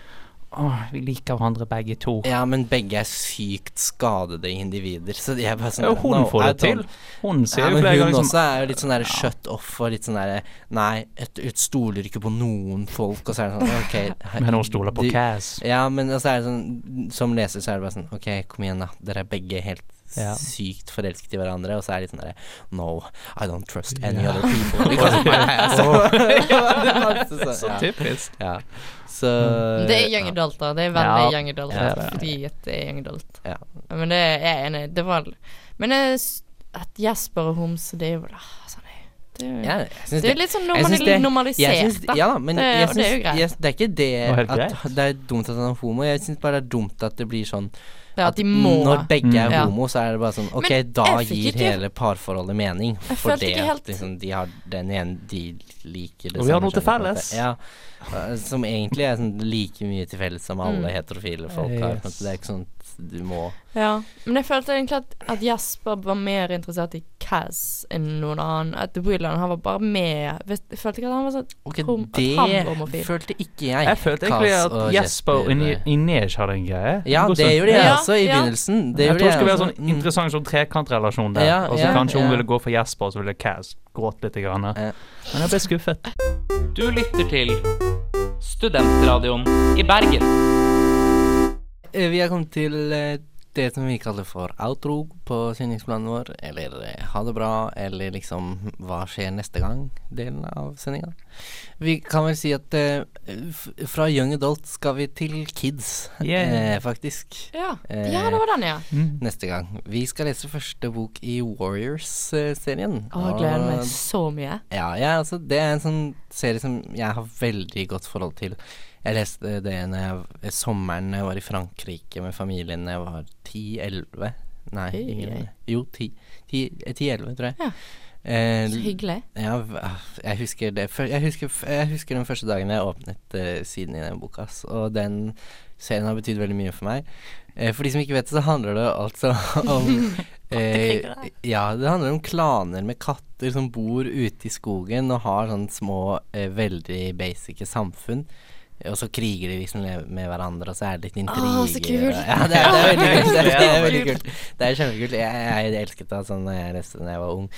Speaker 3: Åh, vi liker hverandre begge to.
Speaker 1: ja, men begge er sykt skadede individer, så de er bare sånn
Speaker 3: Ja, hun
Speaker 1: no,
Speaker 3: får det
Speaker 1: I don't-
Speaker 3: til. Hun
Speaker 1: Ja,
Speaker 3: sier jo
Speaker 1: men
Speaker 3: flere
Speaker 1: hun
Speaker 3: ganger
Speaker 1: også
Speaker 3: som
Speaker 1: er jo litt sånn der
Speaker 3: Ja.
Speaker 1: shut off og litt sånn derre Nei, et, et stoler ikke på noen folk, og så er det sånn OK her-
Speaker 3: Men hun stoler på
Speaker 1: du-
Speaker 3: Kaz.
Speaker 1: Ja, men så er det sånn Som leser så er det bare sånn OK, kom igjen, da. Dere er begge helt
Speaker 3: Ja.
Speaker 1: sykt forelsket i hverandre, og så er det litt sånn derre No, I don't trust any other people because of my ass. Det er masse
Speaker 3: Så
Speaker 1: sånn, ja.
Speaker 3: typisk.
Speaker 1: Ja. Så
Speaker 2: det er young
Speaker 1: ja.
Speaker 2: adult, da. Det er veldig
Speaker 3: Ja.
Speaker 2: young adult.
Speaker 3: Ja, det er det.
Speaker 2: Fordi at det er young adult.
Speaker 1: Ja.
Speaker 2: Men det er jeg enig i. Det var Men jeg s- at Jesper og homse, det er jo ah, sånn, det er jo-
Speaker 1: Ja, jeg synes
Speaker 2: Det er
Speaker 1: det-
Speaker 2: litt sånn
Speaker 1: jeg synes
Speaker 2: normali
Speaker 1: det-
Speaker 2: normalisert,
Speaker 1: Jeg syns,
Speaker 2: da.
Speaker 1: ja da, men
Speaker 2: Det-
Speaker 1: jeg
Speaker 2: og
Speaker 1: syns,
Speaker 2: det er jo greit.
Speaker 1: jeg, det er ikke det
Speaker 3: er helt
Speaker 1: at det er dumt at han er homo. Jeg syns bare det er dumt at det blir sånn
Speaker 2: Det er at de må
Speaker 1: når begge er
Speaker 2: Mm. Ja.
Speaker 1: homo, så er det bare sånn OK,
Speaker 2: Men
Speaker 1: da
Speaker 2: jeg fikk
Speaker 1: gir
Speaker 2: ikke-
Speaker 1: hele parforholdet mening.
Speaker 2: Jeg
Speaker 1: For
Speaker 2: følte
Speaker 1: det
Speaker 2: ikke helt-
Speaker 1: at liksom, de har den ene de liker det
Speaker 3: Og vi har
Speaker 1: samme
Speaker 3: noe til
Speaker 1: kjønnet, på en måte.
Speaker 3: felles.
Speaker 1: Ja. eh, Som egentlig er sånn like mye til felles som alle
Speaker 2: Mm.
Speaker 1: heterofile folk har. på en måte. Det er ikke sånn at du må
Speaker 2: Ja, men jeg følte egentlig at, at Jasper var mer interessert i Kaz enn noen annen. At Wheeland han var bare med. Vet- Jeg følte ikke at han var sånn
Speaker 1: Ok,
Speaker 2: Kom- at
Speaker 1: det
Speaker 2: han var homofil.
Speaker 1: følte ikke jeg.
Speaker 3: Jeg følte egentlig
Speaker 1: Kaz
Speaker 3: at
Speaker 1: og eh,
Speaker 3: Jesper og Ine- Inej hadde en greie. sånn,
Speaker 1: Ja,
Speaker 3: Noe
Speaker 1: det
Speaker 3: sånt.
Speaker 1: gjorde jeg
Speaker 2: Ja,
Speaker 1: også i
Speaker 2: ja.
Speaker 1: begynnelsen. Det
Speaker 3: Jeg
Speaker 1: gjorde
Speaker 3: tror det skulle være
Speaker 1: også. Mm.
Speaker 3: sånn interessant sånn trekantrelasjon der.
Speaker 1: Ja,
Speaker 3: og så
Speaker 1: ja,
Speaker 3: kanskje
Speaker 1: ja.
Speaker 3: hun ville gå for Jesper, og så ville Kaz gråte litt. Grann.
Speaker 1: Ja.
Speaker 3: Men jeg ble skuffet.
Speaker 4: Du lytter til Studentradioen i Bergen.
Speaker 1: Eh, Vi er kommet til eh, det som vi kaller for outro på sendingsplanen vår. Eller eh, ha det bra, eller liksom hva skjer neste gang-delen av sendinga. Vi kan vel si at eh, f fra young adult skal vi til kids,
Speaker 3: Yeah.
Speaker 1: eh, faktisk.
Speaker 2: Ja,
Speaker 1: Eh,
Speaker 2: ja det var den, ja.
Speaker 1: Neste gang. Vi skal lese første bok i eh, Warriors-serien.
Speaker 2: Å, jeg gleder meg så mye.
Speaker 1: Ja, jeg, altså, det er en sånn serie som jeg har veldig godt forhold til. Jeg leste det når jeg, eh, sommeren når jeg var i Frankrike med familien da jeg var 10-11. Nei,
Speaker 2: Oi.
Speaker 1: yngre enn det. Jo, 10-11, tror jeg.
Speaker 2: Ja.
Speaker 1: Eh,
Speaker 2: Så hyggelig.
Speaker 1: ja, v- ah, jeg husker det før- jeg husker, f- jeg husker den første dagen jeg åpnet eh, siden i den boka. ass. Og den serien har betydd veldig mye for meg. Eh, for de som ikke vet det, så handler det altså om eh, Ja, det handler om klaner med katter som bor ute i skogen og har sånne små, eh, veldig basic samfunn. Eh, Og så kriger de liksom le- med hverandre, og så er det litt intriger.
Speaker 2: Å, så kult.
Speaker 1: og- Ja, det er, det er veldig kult. Det er, det er veldig
Speaker 2: Kult.
Speaker 1: kult. Det er kjempekult. Jeg, jeg, jeg elsket det sånn da jeg leste det da jeg var ung.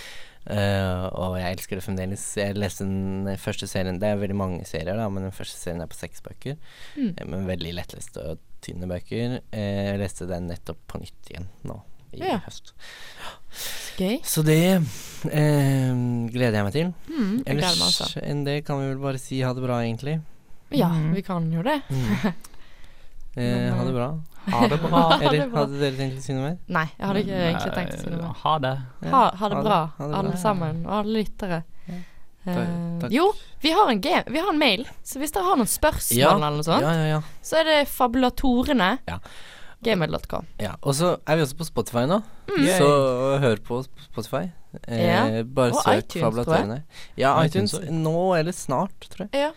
Speaker 1: Eh, og jeg elsker det fremdeles. Jeg leste den første serien Det er veldig mange serier, da, men den første serien er på seks bøker.
Speaker 2: Mm.
Speaker 1: Eh, Men veldig lettleste og tynne bøker. Eh, jeg leste den nettopp på nytt igjen nå i
Speaker 2: Ja.
Speaker 1: høst.
Speaker 2: Så gøy.
Speaker 1: Så det eh, gleder jeg meg til.
Speaker 2: Mm, jeg gleder meg også.
Speaker 1: Ellers enn det kan vi vel bare si ha det bra, egentlig. Mm.
Speaker 2: Ja, vi kan jo det.
Speaker 1: Eh, ha det bra.
Speaker 3: Ha det bra.
Speaker 1: Eller hadde dere tenkt å si noe mer?
Speaker 2: Nei, jeg hadde ikke egentlig tenkt å si noe mer.
Speaker 3: Ha det.
Speaker 2: Ha, ha det bra,
Speaker 1: ha det bra.
Speaker 2: alle sammen, og alle lyttere. Eh,
Speaker 1: takk.
Speaker 2: jo, vi har, en game, vi har en mail, så hvis dere har noen spørsmål
Speaker 1: Ja,
Speaker 2: eller noe sånt,
Speaker 1: Ja, ja, ja.
Speaker 2: så er det fabulatorene.
Speaker 1: Ja.
Speaker 2: Gmail.com.
Speaker 1: Ja, og så er vi også på Spotify nå,
Speaker 3: Yay.
Speaker 1: så hør på oss på Spotify. Eh,
Speaker 2: Mm. Ja,
Speaker 1: Bare
Speaker 2: og
Speaker 1: søk
Speaker 2: iTunes,
Speaker 1: Fablatørene. Ja,
Speaker 3: iTunes
Speaker 1: iTunes
Speaker 3: også.
Speaker 1: nå eller snart, tror jeg.
Speaker 2: Ja.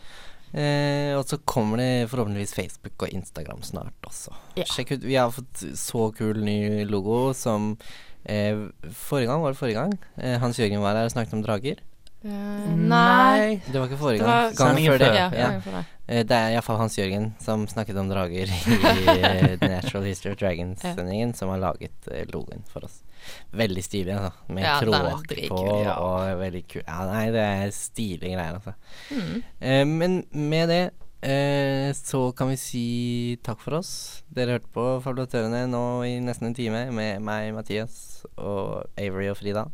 Speaker 1: Eh, og så kommer det forhåpentligvis Facebook og Instagram snart også.
Speaker 2: Ja.
Speaker 1: Sjekk ut, Vi har fått så kul ny logo som eh, Forrige gang var det forrige gang. Eh, Hans Jørgen var her og snakket om drager.
Speaker 2: Eh, nei.
Speaker 1: Det var ikke forrige
Speaker 2: Det
Speaker 1: gang.
Speaker 2: var-
Speaker 1: Gangen før det.
Speaker 2: Ja,
Speaker 1: Ja.
Speaker 2: jeg er for det.
Speaker 1: Eh, Det er iallfall Hans Jørgen som snakket om drager i eh, Natural History of Dragons-sendingen, som har laget eh, logoen for oss. Veldig stilig, altså. Med
Speaker 2: Ja, den er
Speaker 1: kråk
Speaker 2: dritkul,
Speaker 1: på
Speaker 2: ja.
Speaker 1: og veldig kul. Ja, nei, det er stilige greier, altså.
Speaker 2: Mm.
Speaker 1: Eh, men med det eh, så kan vi si takk for oss. Dere hørte på Fabulatørene nå i nesten en time med meg, Mathias og Avery og Frida.